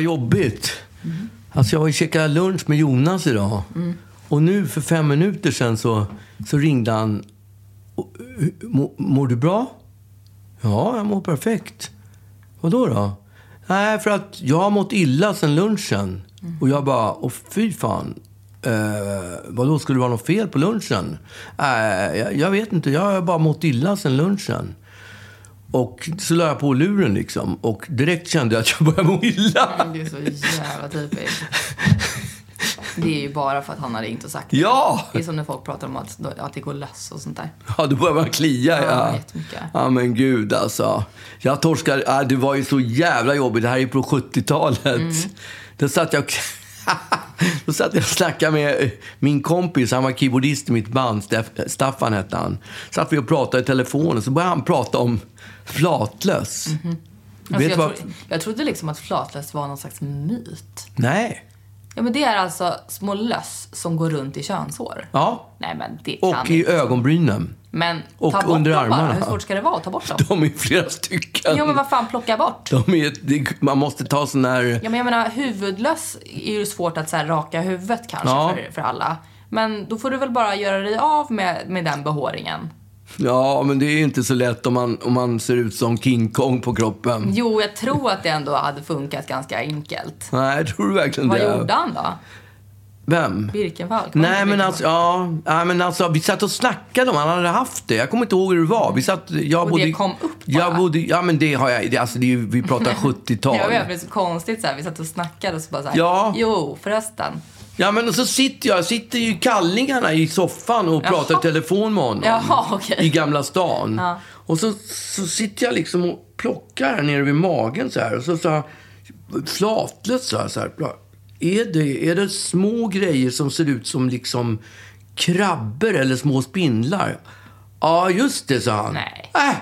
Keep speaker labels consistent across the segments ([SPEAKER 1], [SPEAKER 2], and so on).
[SPEAKER 1] jobbigt. Alltså jag har ju käkat lunch med Jonas idag. Och nu för fem minuter sedan så, så ringde han. Och, "Hur- "Mår- Mår du bra? Ja, jag mår perfekt. Vadå då? Nej, för att jag har mått illa sedan lunchen. Och jag bara, åh fy fan. Eh, vadå, skulle det vara något fel på lunchen? Nej, jag, jag vet inte. Jag har bara mått illa sedan lunchen. Och så la jag på luren liksom. Och direkt kände jag att jag började må illa.
[SPEAKER 2] Men Det är så jävla typiskt. Det är ju bara för att han har ringt och sagt det.
[SPEAKER 1] Ja!
[SPEAKER 2] Det är som när folk pratar om att, att det går löss och sånt där. Alltså,
[SPEAKER 1] Ja, då börjar man klia.
[SPEAKER 2] Ja,
[SPEAKER 1] Ja,
[SPEAKER 2] jättemycket.
[SPEAKER 1] ja men gud alltså. Jag torskade. Ja, det var ju så jävla jobbigt. Det här är ju på 70-talet.
[SPEAKER 2] Mm.
[SPEAKER 1] Då satt jag Då satt jag och snackade med min kompis, han var keyboardist i mitt band, Steff- Staffan hette han. Satt vi och pratade i telefonen, så började han prata om flatlöss.
[SPEAKER 2] Alltså,
[SPEAKER 1] Vet
[SPEAKER 2] jag,
[SPEAKER 1] vad...
[SPEAKER 2] tro, jag trodde liksom att flatlöss var någon slags myt.
[SPEAKER 1] Nej.
[SPEAKER 2] Ja, men det är alltså små löss som går runt i könshår.
[SPEAKER 1] Ja.
[SPEAKER 2] Nej, men det kan
[SPEAKER 1] Och i
[SPEAKER 2] inte.
[SPEAKER 1] ögonbrynen.
[SPEAKER 2] Men
[SPEAKER 1] och
[SPEAKER 2] ta bort
[SPEAKER 1] under
[SPEAKER 2] dem bara.
[SPEAKER 1] armarna.
[SPEAKER 2] Hur svårt ska det vara att ta bort dem?
[SPEAKER 1] De är flera stycken.
[SPEAKER 2] Ja, men vad fan, plocka bort.
[SPEAKER 1] De är, det- man måste ta sån här...
[SPEAKER 2] Ja, men jag menar, huvudlöss är ju svårt att så här, raka huvudet kanske
[SPEAKER 1] Ja.
[SPEAKER 2] för, för alla. Men då får du väl bara göra dig av med, med den behåringen.
[SPEAKER 1] Ja, men det är ju inte så lätt om man, om man ser ut som King Kong på kroppen.
[SPEAKER 2] Jo, jag tror att det ändå hade funkat ganska enkelt.
[SPEAKER 1] Nej, tror du verkligen
[SPEAKER 2] Vad
[SPEAKER 1] det?
[SPEAKER 2] gjorde han då?
[SPEAKER 1] Vem?
[SPEAKER 2] Birkenfalk? Var det
[SPEAKER 1] Nej
[SPEAKER 2] inte
[SPEAKER 1] men,
[SPEAKER 2] Birkenfalk?
[SPEAKER 1] alltså, ja, nej men alltså, vi satt och snackade om, han hade haft det. Jag kommer inte ihåg hur det var. Vi satt, jag
[SPEAKER 2] Och
[SPEAKER 1] bodde,
[SPEAKER 2] det kom upp bara?
[SPEAKER 1] jag bodde, Ja men det har jag, det, alltså, det är, ju- vi pratar 70-tal.
[SPEAKER 2] Det var ju så konstigt så här. vi satt och snackade och så bara så här,
[SPEAKER 1] Ja.
[SPEAKER 2] jo förresten.
[SPEAKER 1] Ja men och så sitter jag, sitter ju i kallingarna i soffan och pratar i telefon med honom.
[SPEAKER 2] Jaha, okej.
[SPEAKER 1] I Gamla stan.
[SPEAKER 2] Ja.
[SPEAKER 1] Och så, så sitter jag liksom och plockar här nere vid magen så här. Och så, så här, flatlöst så här. Så här pla- är, det, är det små grejer som ser ut som liksom krabbor eller små spindlar? Ja, just det, sa han.
[SPEAKER 2] Nej.
[SPEAKER 1] Äh,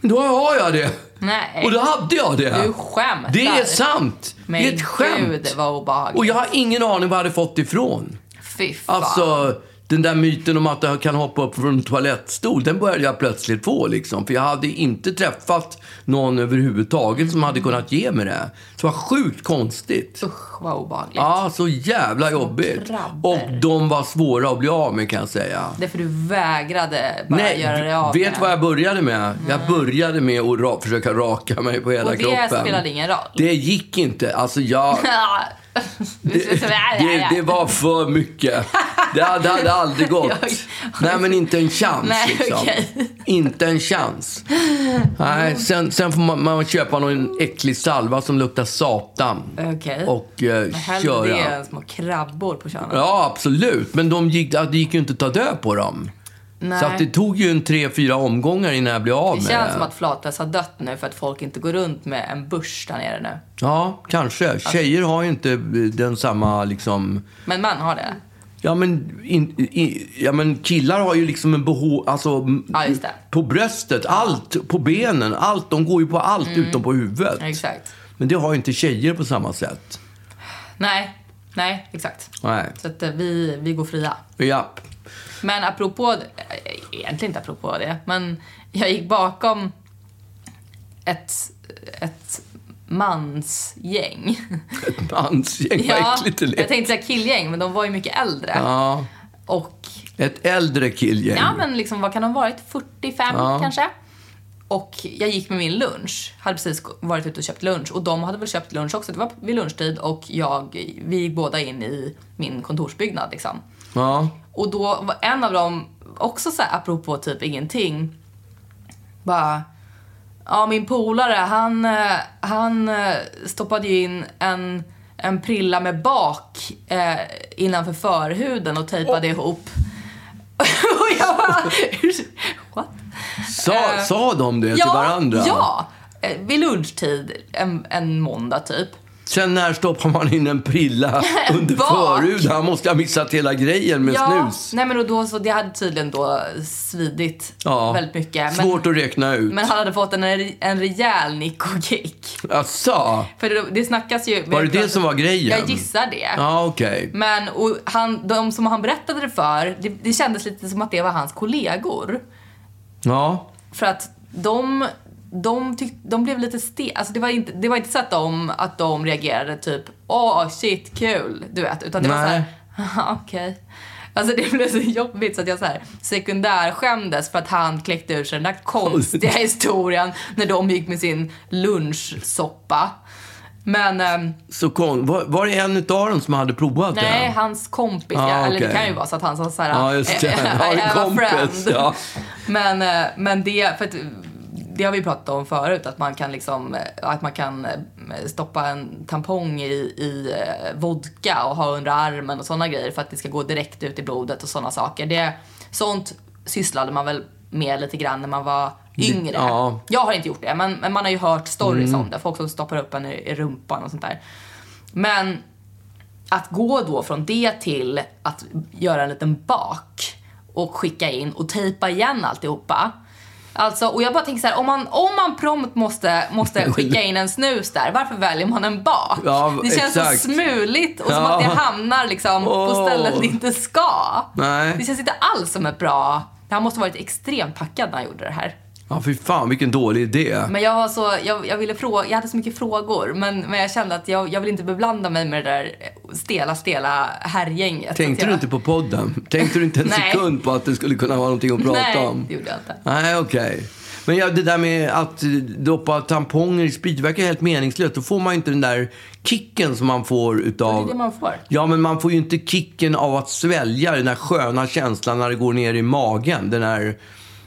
[SPEAKER 1] men då har jag det.
[SPEAKER 2] Nej.
[SPEAKER 1] Och då hade jag det.
[SPEAKER 2] Du skämtar.
[SPEAKER 1] Det är sant.
[SPEAKER 2] Men
[SPEAKER 1] det är ett skämt.
[SPEAKER 2] gud vad obehagligt.
[SPEAKER 1] Och jag har ingen aning var jag hade fått det ifrån.
[SPEAKER 2] Fy fan.
[SPEAKER 1] Alltså, den där myten om att jag kan hoppa upp från en toalettstol, den började jag plötsligt få. Liksom. För jag hade inte träffat någon överhuvudtaget som hade kunnat ge mig det. Så det var sjukt konstigt.
[SPEAKER 2] Usch vad obehagligt.
[SPEAKER 1] Ja, så jävla jobbigt.
[SPEAKER 2] krabbor.
[SPEAKER 1] Och de var svåra att bli av med kan jag säga.
[SPEAKER 2] Det är för du vägrade bara göra dig av
[SPEAKER 1] vet
[SPEAKER 2] med
[SPEAKER 1] vad jag började med? Jag började med att ra- försöka raka mig på hela
[SPEAKER 2] Och det
[SPEAKER 1] kroppen.
[SPEAKER 2] spelade ingen roll?
[SPEAKER 1] Det gick inte. Alltså jag...
[SPEAKER 2] det,
[SPEAKER 1] det, det var för mycket. Det hade, hade aldrig gått.
[SPEAKER 2] Jag-
[SPEAKER 1] Nej, men inte en chans.
[SPEAKER 2] Nej,
[SPEAKER 1] liksom.
[SPEAKER 2] okej.
[SPEAKER 1] Inte en chans. Nej, sen, sen får man, man köpa någon äcklig salva som luktar satan.
[SPEAKER 2] Okej.
[SPEAKER 1] Och eh,
[SPEAKER 2] Hellre det
[SPEAKER 1] köra.
[SPEAKER 2] än små krabbor på könet.
[SPEAKER 1] Ja, absolut. Men de gick, det gick ju inte att ta död på dem.
[SPEAKER 2] Nej.
[SPEAKER 1] Så att det tog ju en tre, fyra omgångar innan jag blev av
[SPEAKER 2] det
[SPEAKER 1] med
[SPEAKER 2] känns som att flatlöss har dött nu för att folk inte går runt med en börs där nere nu.
[SPEAKER 1] Ja, kanske.
[SPEAKER 2] Alltså-
[SPEAKER 1] Tjejer har ju inte eh, den samma liksom...
[SPEAKER 2] Men män har det.
[SPEAKER 1] Ja men, in, i- ja men killar har ju liksom en behov, alltså m-
[SPEAKER 2] Ja, just det.
[SPEAKER 1] på bröstet, allt, på benen, allt. De går ju på allt utom på huvudet.
[SPEAKER 2] Mm. Exakt.
[SPEAKER 1] Men det har ju inte tjejer på samma sätt.
[SPEAKER 2] Nej, nej, exakt.
[SPEAKER 1] Nej.
[SPEAKER 2] Så att eh, vi, vi går fria.
[SPEAKER 1] Ja.
[SPEAKER 2] Men apropå, eh, egentligen inte apropå det, men jag gick bakom ett, ett mansgäng.
[SPEAKER 1] Ett mansgäng, vad äckligt det
[SPEAKER 2] jag
[SPEAKER 1] lät.
[SPEAKER 2] tänkte säga killgäng, men de var ju mycket äldre.
[SPEAKER 1] Ja,
[SPEAKER 2] Och
[SPEAKER 1] ett äldre killgäng.
[SPEAKER 2] Ja, men liksom, vad kan de ha varit? 45
[SPEAKER 1] Ja.
[SPEAKER 2] kanske? Och jag gick med min lunch. Hade precis varit ute och köpt lunch. Och de hade väl köpt lunch också. Det var vid lunchtid och jag, vi gick båda in i min kontorsbyggnad liksom.
[SPEAKER 1] Ja.
[SPEAKER 2] Och då var en av dem, också så här apropå typ ingenting, bara Ja, min polare han, eh, han eh, stoppade ju in en, en prilla med bak eh, innanför förhuden och tejpade ihop. och jag bara, what?
[SPEAKER 1] Sa,
[SPEAKER 2] Eh,
[SPEAKER 1] sa de det till varandra?
[SPEAKER 2] Ja, eh, vid lunchtid en, en måndag typ.
[SPEAKER 1] Sen när stoppar man in en prilla under
[SPEAKER 2] Bak.
[SPEAKER 1] förhuden? Han måste ha missat hela grejen med
[SPEAKER 2] Ja,
[SPEAKER 1] snus.
[SPEAKER 2] nej men och då så det hade tydligen då svidit
[SPEAKER 1] Ja.
[SPEAKER 2] väldigt mycket. Men,
[SPEAKER 1] Svårt att räkna ut.
[SPEAKER 2] Men han hade fått en, en rejäl nick och kick.
[SPEAKER 1] Asså?
[SPEAKER 2] För det, det snackas ju...
[SPEAKER 1] Var det det som var grejen?
[SPEAKER 2] Jag gissar det.
[SPEAKER 1] Ja, okej.
[SPEAKER 2] Men och han, de som han berättade det för, det, det kändes lite som att det var hans kollegor.
[SPEAKER 1] Ja.
[SPEAKER 2] För att de de, tyck, de blev lite stel. Alltså det var inte, det var inte så att de, att de reagerade typ åh shit kul, du vet. Utan det var
[SPEAKER 1] Nej.
[SPEAKER 2] såhär, "Haha, okej. Alltså det blev så jobbigt så att jag så här, sekundärskämdes för att han kläckte ur sig den där konstiga historien när de gick med sin lunchsoppa. Men ehm,
[SPEAKER 1] Så kon, var, var det en utav dem som hade provat
[SPEAKER 2] nej,
[SPEAKER 1] det?
[SPEAKER 2] hans kompis,
[SPEAKER 1] Ah,
[SPEAKER 2] ja, eller det
[SPEAKER 1] okej.
[SPEAKER 2] kan ju vara så att han sa såhär,
[SPEAKER 1] Ja, just det. Ja, en kompis. Ja.
[SPEAKER 2] Men, eh, men det, för att, det har vi pratat om förut, att man kan, liksom, eh, att man kan eh, stoppa en tampong i, i eh, vodka och ha under armen och sådana grejer för att det ska gå direkt ut i blodet och sådana saker. Det, sånt sysslade man väl med lite grann när man var yngre.
[SPEAKER 1] ja. Mm.
[SPEAKER 2] Jag har inte gjort det, men, men man har ju hört stories om det. Folk som stoppar upp en i, i rumpan och sånt där. Men att gå då från det till att göra en liten bak och skicka in och tejpa igen alltihopa. Alltså, och jag bara tänker så här, om man, om man prompt måste, måste skicka in en snus där, varför väljer man en bak?
[SPEAKER 1] Ja,
[SPEAKER 2] det känns
[SPEAKER 1] exakt.
[SPEAKER 2] så smuligt och som
[SPEAKER 1] Ja.
[SPEAKER 2] att det hamnar liksom på
[SPEAKER 1] Åh.
[SPEAKER 2] stället det inte ska.
[SPEAKER 1] Nej.
[SPEAKER 2] Det känns inte alls som ett bra... Han måste ha varit extremt packad när han gjorde det här.
[SPEAKER 1] Ja, fy fan vilken dålig idé.
[SPEAKER 2] Men jag var så, jag, jag ville fråga, jag hade så mycket frågor men, men jag kände att jag, jag vill inte beblanda mig med det där eh, stela, stela herrgänget.
[SPEAKER 1] Tänkte
[SPEAKER 2] Så
[SPEAKER 1] du
[SPEAKER 2] jag-
[SPEAKER 1] inte på podden? Tänkte du inte en
[SPEAKER 2] Nej.
[SPEAKER 1] sekund på att det skulle kunna vara någonting att prata
[SPEAKER 2] Nej,
[SPEAKER 1] om?
[SPEAKER 2] det gjorde jag inte.
[SPEAKER 1] Nej, okej. Men ja, det där med att eh, doppa tamponger i sprit verkar helt meningslöst. Då får man ju inte den där kicken som man får
[SPEAKER 2] Det
[SPEAKER 1] utav...
[SPEAKER 2] är det man får.
[SPEAKER 1] Ja, men man får ju inte kicken av att svälja den där sköna känslan när det går ner i magen. Den där,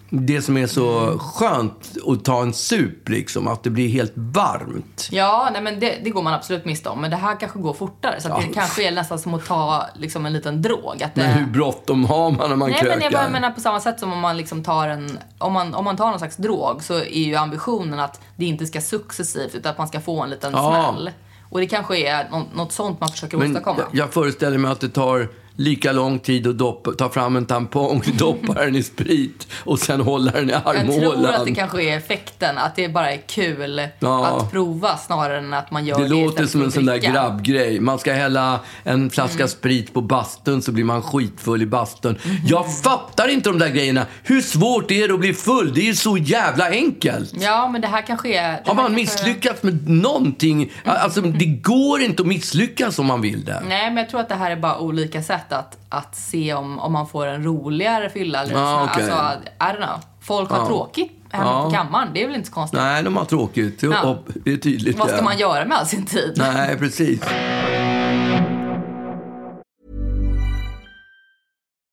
[SPEAKER 1] det som är
[SPEAKER 2] Mm.
[SPEAKER 1] så skönt att ta en sup, liksom. Att det blir helt varmt.
[SPEAKER 2] Ja, nej men det, det går man absolut miste om. Men det här kanske går fortare. Så att
[SPEAKER 1] Ja.
[SPEAKER 2] det kanske är nästan som att ta liksom, en liten drog. Att det,
[SPEAKER 1] Men hur bråttom har man när man
[SPEAKER 2] nej,
[SPEAKER 1] krökar?
[SPEAKER 2] men jag bara menar på samma sätt som om man liksom tar en... Om man, om man tar någon slags drog så är ju ambitionen att det inte ska successivt utan att man ska få en liten
[SPEAKER 1] Ja.
[SPEAKER 2] smäll. Och det kanske är nå- något sånt man försöker
[SPEAKER 1] Men
[SPEAKER 2] åstadkomma.
[SPEAKER 1] jag- jag föreställer mig att det tar lika lång tid att doppa, ta fram en tampong, doppa den i sprit och sen hålla den i
[SPEAKER 2] Jag tror att det
[SPEAKER 1] armhålan.
[SPEAKER 2] kanske är effekten, att det bara är kul
[SPEAKER 1] Ja.
[SPEAKER 2] att prova snarare än att man gör det
[SPEAKER 1] Det låter
[SPEAKER 2] istället
[SPEAKER 1] som
[SPEAKER 2] för
[SPEAKER 1] en
[SPEAKER 2] att
[SPEAKER 1] sån där
[SPEAKER 2] dricka. Mm.
[SPEAKER 1] grabbgrej. Man ska hälla en flaska sprit på bastun så blir man skitfull i bastun.
[SPEAKER 2] Mm.
[SPEAKER 1] Jag fattar inte de där grejerna. Hur svårt är det att bli full? Det är ju så jävla enkelt.
[SPEAKER 2] Ja, men det här kanske är... det
[SPEAKER 1] Har
[SPEAKER 2] här
[SPEAKER 1] man
[SPEAKER 2] kanske-
[SPEAKER 1] misslyckats med någonting? Alltså, det går inte att misslyckas om man vill det.
[SPEAKER 2] Nej, men jag tror att det här är bara olika sätt att, att se om, om man får en roligare fylla eller
[SPEAKER 1] Ja,
[SPEAKER 2] ah,
[SPEAKER 1] okej.
[SPEAKER 2] Alltså, I don't know. Folk har
[SPEAKER 1] Ja.
[SPEAKER 2] tråkigt hemma
[SPEAKER 1] Ja.
[SPEAKER 2] på kammaren. Det är väl inte så konstigt.
[SPEAKER 1] Nej, de har tråkigt. Det
[SPEAKER 2] Ja.
[SPEAKER 1] är tydligt.
[SPEAKER 2] Vad ska
[SPEAKER 1] det.
[SPEAKER 2] man göra med all sin tid?
[SPEAKER 1] Nej, precis.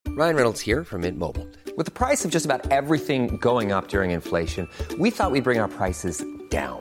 [SPEAKER 3] Ryan Reynolds here from Mint Mobile. With the price of just about everything going up during inflation, we thought we'd bring our prices down.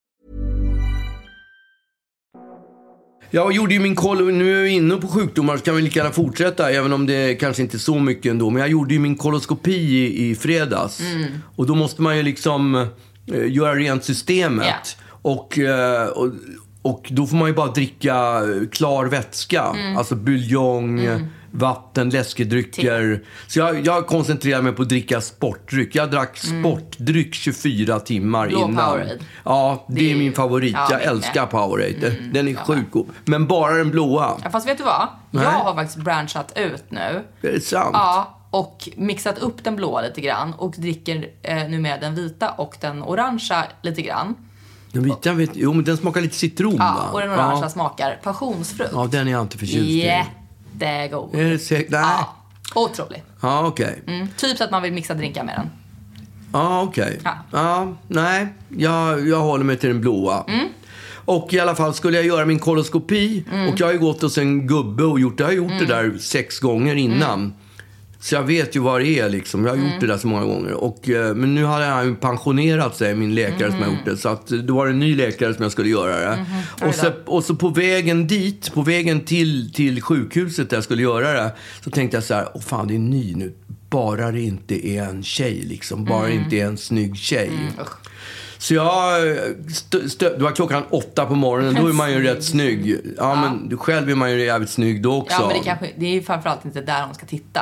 [SPEAKER 1] Jag gjorde ju min kol- nu är vi inne på sjukdomar så kan vi lika gärna fortsätta, även om det kanske inte är så mycket ändå. Men jag gjorde ju min koloskopi i, i fredags.
[SPEAKER 2] Mm.
[SPEAKER 1] Och då måste man ju liksom eh, göra rent systemet.
[SPEAKER 2] Ja.
[SPEAKER 1] Och, eh, och, och då får man ju bara dricka eh, klar vätska.
[SPEAKER 2] Mm.
[SPEAKER 1] Alltså buljong, vatten, läskedrycker. Så jag, jag koncentrerade mig på att dricka sportdryck. Jag drack sportdryck 24 timmar
[SPEAKER 2] Mm. Blå
[SPEAKER 1] innan.
[SPEAKER 2] Powerade.
[SPEAKER 1] Ja, det, är min favorit.
[SPEAKER 2] Ja,
[SPEAKER 1] jag
[SPEAKER 2] min
[SPEAKER 1] älskar
[SPEAKER 2] med.
[SPEAKER 1] Powerade.
[SPEAKER 2] Mm.
[SPEAKER 1] Den är sjuk god. Men bara den blåa.
[SPEAKER 2] Ja, Fast vet du vad?
[SPEAKER 1] Nej.
[SPEAKER 2] Jag har faktiskt branchat ut nu.
[SPEAKER 1] Det är sant.
[SPEAKER 2] Ja, och mixat upp den blåa lite grann och dricker eh, numera den vita och den orangea lite grann.
[SPEAKER 1] Den vita vet Jo, men den smakar lite citron,
[SPEAKER 2] Ja,
[SPEAKER 1] va?
[SPEAKER 2] och den orangea
[SPEAKER 1] Ja.
[SPEAKER 2] smakar passionsfrukt.
[SPEAKER 1] ja, den är jag inte förtjust i.
[SPEAKER 2] Jättegod.
[SPEAKER 1] Är det säkert? Nej.
[SPEAKER 2] Ja,
[SPEAKER 1] Ja,
[SPEAKER 2] otrolig.
[SPEAKER 1] okej.
[SPEAKER 2] Mm. Typ så att man vill mixa drinkar med den.
[SPEAKER 1] Ja, okej.
[SPEAKER 2] Ja.
[SPEAKER 1] Ja, nej. Jag, jag håller mig till den blåa. Och i alla fall skulle jag göra min koloskopi. Och jag har ju gått hos en gubbe och gjort det. Jag har gjort det där sex gånger innan. Så jag vet ju vad det är liksom. Jag har gjort det där så många gånger. Och, eh, men nu hade han ju pensionerat sig, min läkare som har gjort det. Så att, eh, då var det en ny läkare som jag skulle göra det. Och, så, och så på vägen dit, på vägen till, till sjukhuset där jag skulle göra det. Så tänkte jag så här, åh fan det är ny nu. Bara det inte är en tjej liksom. Bara
[SPEAKER 2] Mm.
[SPEAKER 1] det inte är en snygg tjej. Så jag... Stö, stö, det var klockan åtta på morgonen. Då är man ju rätt snygg. Ja, men själv är man ju jävligt snygg då också.
[SPEAKER 2] Ja, men det, kanske, det är ju framförallt inte där hon ska titta.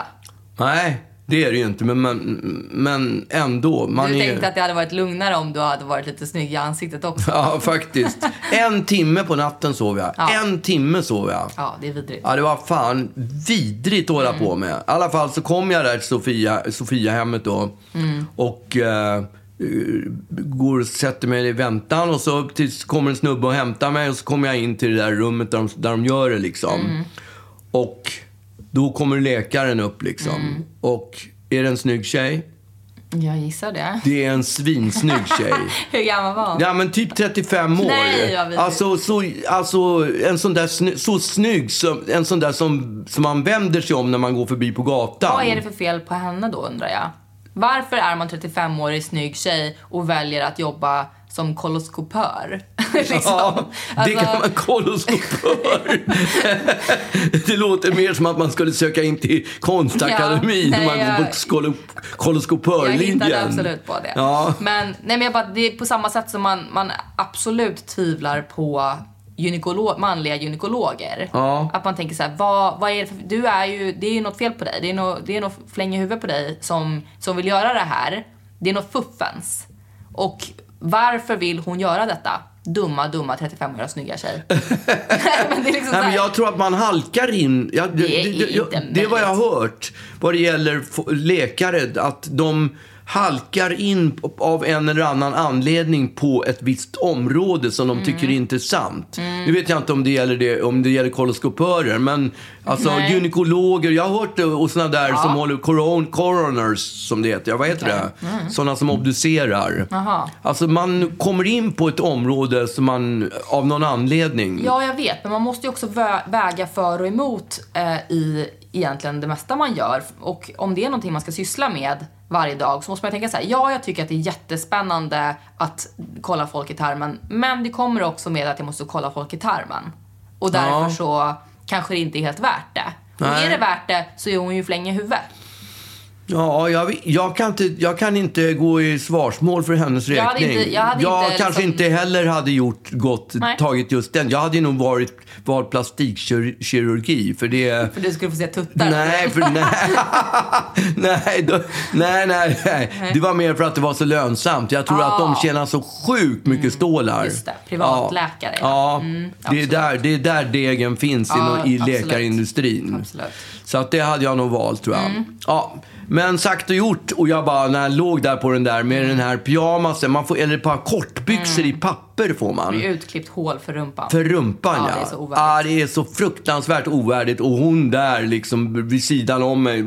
[SPEAKER 1] Nej, det är det ju inte. Men, men, men ändå. Man
[SPEAKER 2] du
[SPEAKER 1] är...
[SPEAKER 2] tänkte att det hade varit lugnare om du hade varit lite snygg i ansiktet också.
[SPEAKER 1] Ja, faktiskt. En timme på natten sov jag.
[SPEAKER 2] Ja.
[SPEAKER 1] En timme sov jag.
[SPEAKER 2] Ja, det är vidrigt.
[SPEAKER 1] Ja, det var fan vidrigt att hålla på med. I alla fall så kom jag där till Sofia, Sofia hemmet då. Och eh, eh, går och sätter mig i väntan. Och så tills kommer en snubbe och hämtar mig. Och så kommer jag in till det där rummet där de, där de gör det liksom. Och då kommer läkaren upp liksom. Och är det en snygg tjej?
[SPEAKER 2] Jag gissar det.
[SPEAKER 1] Det är en svinsnygg tjej.
[SPEAKER 2] Hur gammal var hon?
[SPEAKER 1] Ja men typ 35 år.
[SPEAKER 2] Nej, vad vidrigt.
[SPEAKER 1] alltså, så, alltså en sån där sny- så snygg, som, en sån där som, som man vänder sig om när man går förbi på gatan.
[SPEAKER 2] Vad är det för fel på henne då undrar jag? Varför är man 35-årig snygg tjej och väljer att jobba som koloskopör? liksom.
[SPEAKER 1] Ja, det
[SPEAKER 2] Alltså,
[SPEAKER 1] kan man koloskopör. det låter mer som att man skulle söka in till konstakademin
[SPEAKER 2] Ja,
[SPEAKER 1] när man
[SPEAKER 2] nej,
[SPEAKER 1] går på
[SPEAKER 2] jag-
[SPEAKER 1] skolo-
[SPEAKER 2] Jag
[SPEAKER 1] koloskopörlinjen.
[SPEAKER 2] hittade absolut på det.
[SPEAKER 1] Ja.
[SPEAKER 2] Men, nej, men jag bara, det är på samma sätt som man, man absolut tvivlar på gynekolog, manliga gynekologer.
[SPEAKER 1] Ja.
[SPEAKER 2] Att man tänker så här, vad, vad är det för, du är ju, det är ju något fel på dig. Det är något, det är något fläng i huvudet på dig som, som vill göra det här. Det är något fuffens. Och varför vill hon göra detta? Dumma, dumma 35-åriga snygga tjej. Nej, men det är liksom så
[SPEAKER 1] Nej, men
[SPEAKER 2] här,
[SPEAKER 1] jag tror att man halkar in. Jag, det,
[SPEAKER 2] Det är
[SPEAKER 1] det, det,
[SPEAKER 2] inte
[SPEAKER 1] jag, det är vad jag har hört vad det gäller f- läkare. Att de halkar in p- av en eller annan anledning på ett visst område som de tycker
[SPEAKER 2] Mm.
[SPEAKER 1] är intressant. Nu vet jag inte om det gäller, det, om det gäller koloskopörer, men alltså
[SPEAKER 2] Nej.
[SPEAKER 1] gynekologer. Jag har hört det och sådana där som håller coron, coroners, som det heter. Ja, vad heter det? Sådana som obducerar.
[SPEAKER 2] Mm. Jaha.
[SPEAKER 1] Alltså man kommer in på ett område som man av någon anledning.
[SPEAKER 2] Ja, jag vet. Men man måste ju också vä- väga för och emot eh, i egentligen det mesta man gör. Och om det är någonting man ska syssla med varje dag så måste man tänka så här. Ja, jag tycker att det är jättespännande att kolla folk i tarmen. Men det kommer också med att jag måste kolla folk i tarmen. Och därför
[SPEAKER 1] Ja.
[SPEAKER 2] så kanske det inte är helt värt det. Och
[SPEAKER 1] Nej.
[SPEAKER 2] är det värt det så är hon ju fläng i huvudet.
[SPEAKER 1] Ja, jag, vet- jag, kan inte, jag kan inte gå i svarsmål för hennes
[SPEAKER 2] Jag hade
[SPEAKER 1] räkning.
[SPEAKER 2] inte- jag hade inte
[SPEAKER 1] kanske
[SPEAKER 2] liksom-
[SPEAKER 1] inte heller hade gjort gott,
[SPEAKER 2] Nej.
[SPEAKER 1] tagit just den. Jag hade ju nog varit, valt plastikkirurgi, för det...
[SPEAKER 2] För du skulle få se tuttar.
[SPEAKER 1] Nej, för nej. nej, då, nej, nej, nej. Det var mer för att det var så lönsamt. Jag tror att de tjänar så sjukt mycket stålar.
[SPEAKER 2] Ah. Mm, just det. Privatläkare, Mm,
[SPEAKER 1] Ja, ja. det, är där, det är där degen finns
[SPEAKER 2] Ja,
[SPEAKER 1] inom, i
[SPEAKER 2] absolut.
[SPEAKER 1] läkarindustrin.
[SPEAKER 2] Absolut.
[SPEAKER 1] Så att det hade jag nog valt tror jag.
[SPEAKER 2] Mm.
[SPEAKER 1] Ja, men sagt och gjort och jag bara, när jag låg där på den där med den här pyjamasen, man får, eller ett par kortbyxor
[SPEAKER 2] Mm.
[SPEAKER 1] i papper får man.
[SPEAKER 2] Med utklippt hål för rumpan.
[SPEAKER 1] För rumpan
[SPEAKER 2] Ja,
[SPEAKER 1] ja.
[SPEAKER 2] det är så ovärdigt.
[SPEAKER 1] ah, det är så fruktansvärt ovärdigt. Och hon där liksom vid sidan om mig.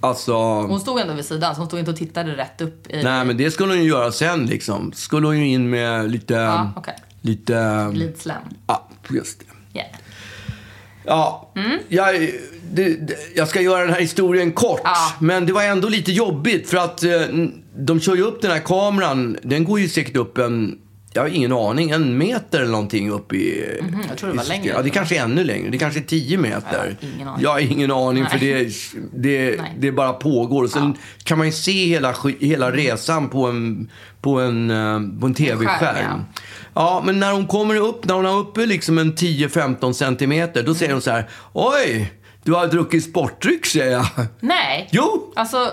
[SPEAKER 1] Alltså.
[SPEAKER 2] Hon stod ändå vid sidan så hon stod inte och tittade rätt upp i...
[SPEAKER 1] Nej men det skulle hon ju göra sen liksom. Skulle hon ju in med lite.
[SPEAKER 2] Ja, okej.
[SPEAKER 1] Lite.
[SPEAKER 2] Lidslen.
[SPEAKER 1] Ja, just det.
[SPEAKER 2] Yeah.
[SPEAKER 1] Ja,
[SPEAKER 2] Mm.
[SPEAKER 1] jag, det, det, jag ska göra den här historien kort.
[SPEAKER 2] Ja.
[SPEAKER 1] Men det var ändå lite jobbigt för att eh, de kör ju upp den här kameran. Den går ju säkert upp en, jag har ingen aning, en meter eller någonting upp i...
[SPEAKER 2] Mhm, jag tror det var
[SPEAKER 1] i-
[SPEAKER 2] längre.
[SPEAKER 1] Ja, det kanske är ännu längre. Det kanske är 10 meter.
[SPEAKER 2] Ja, ingen aning.
[SPEAKER 1] Jag har ingen aning för
[SPEAKER 2] Nej.
[SPEAKER 1] det, det,
[SPEAKER 2] Nej.
[SPEAKER 1] det bara pågår. Och sen kan man ju se hela, sk- hela resan på en, på en, eh, på en
[SPEAKER 2] Skärm,
[SPEAKER 1] tv-skärm.
[SPEAKER 2] ja.
[SPEAKER 1] Ja, men när hon kommer upp, när hon har uppe liksom en 10-15 centimeter, då säger hon så här. Oj, du har druckit sportdryck, säger jag.
[SPEAKER 2] Nej.
[SPEAKER 1] Jo.
[SPEAKER 2] Alltså,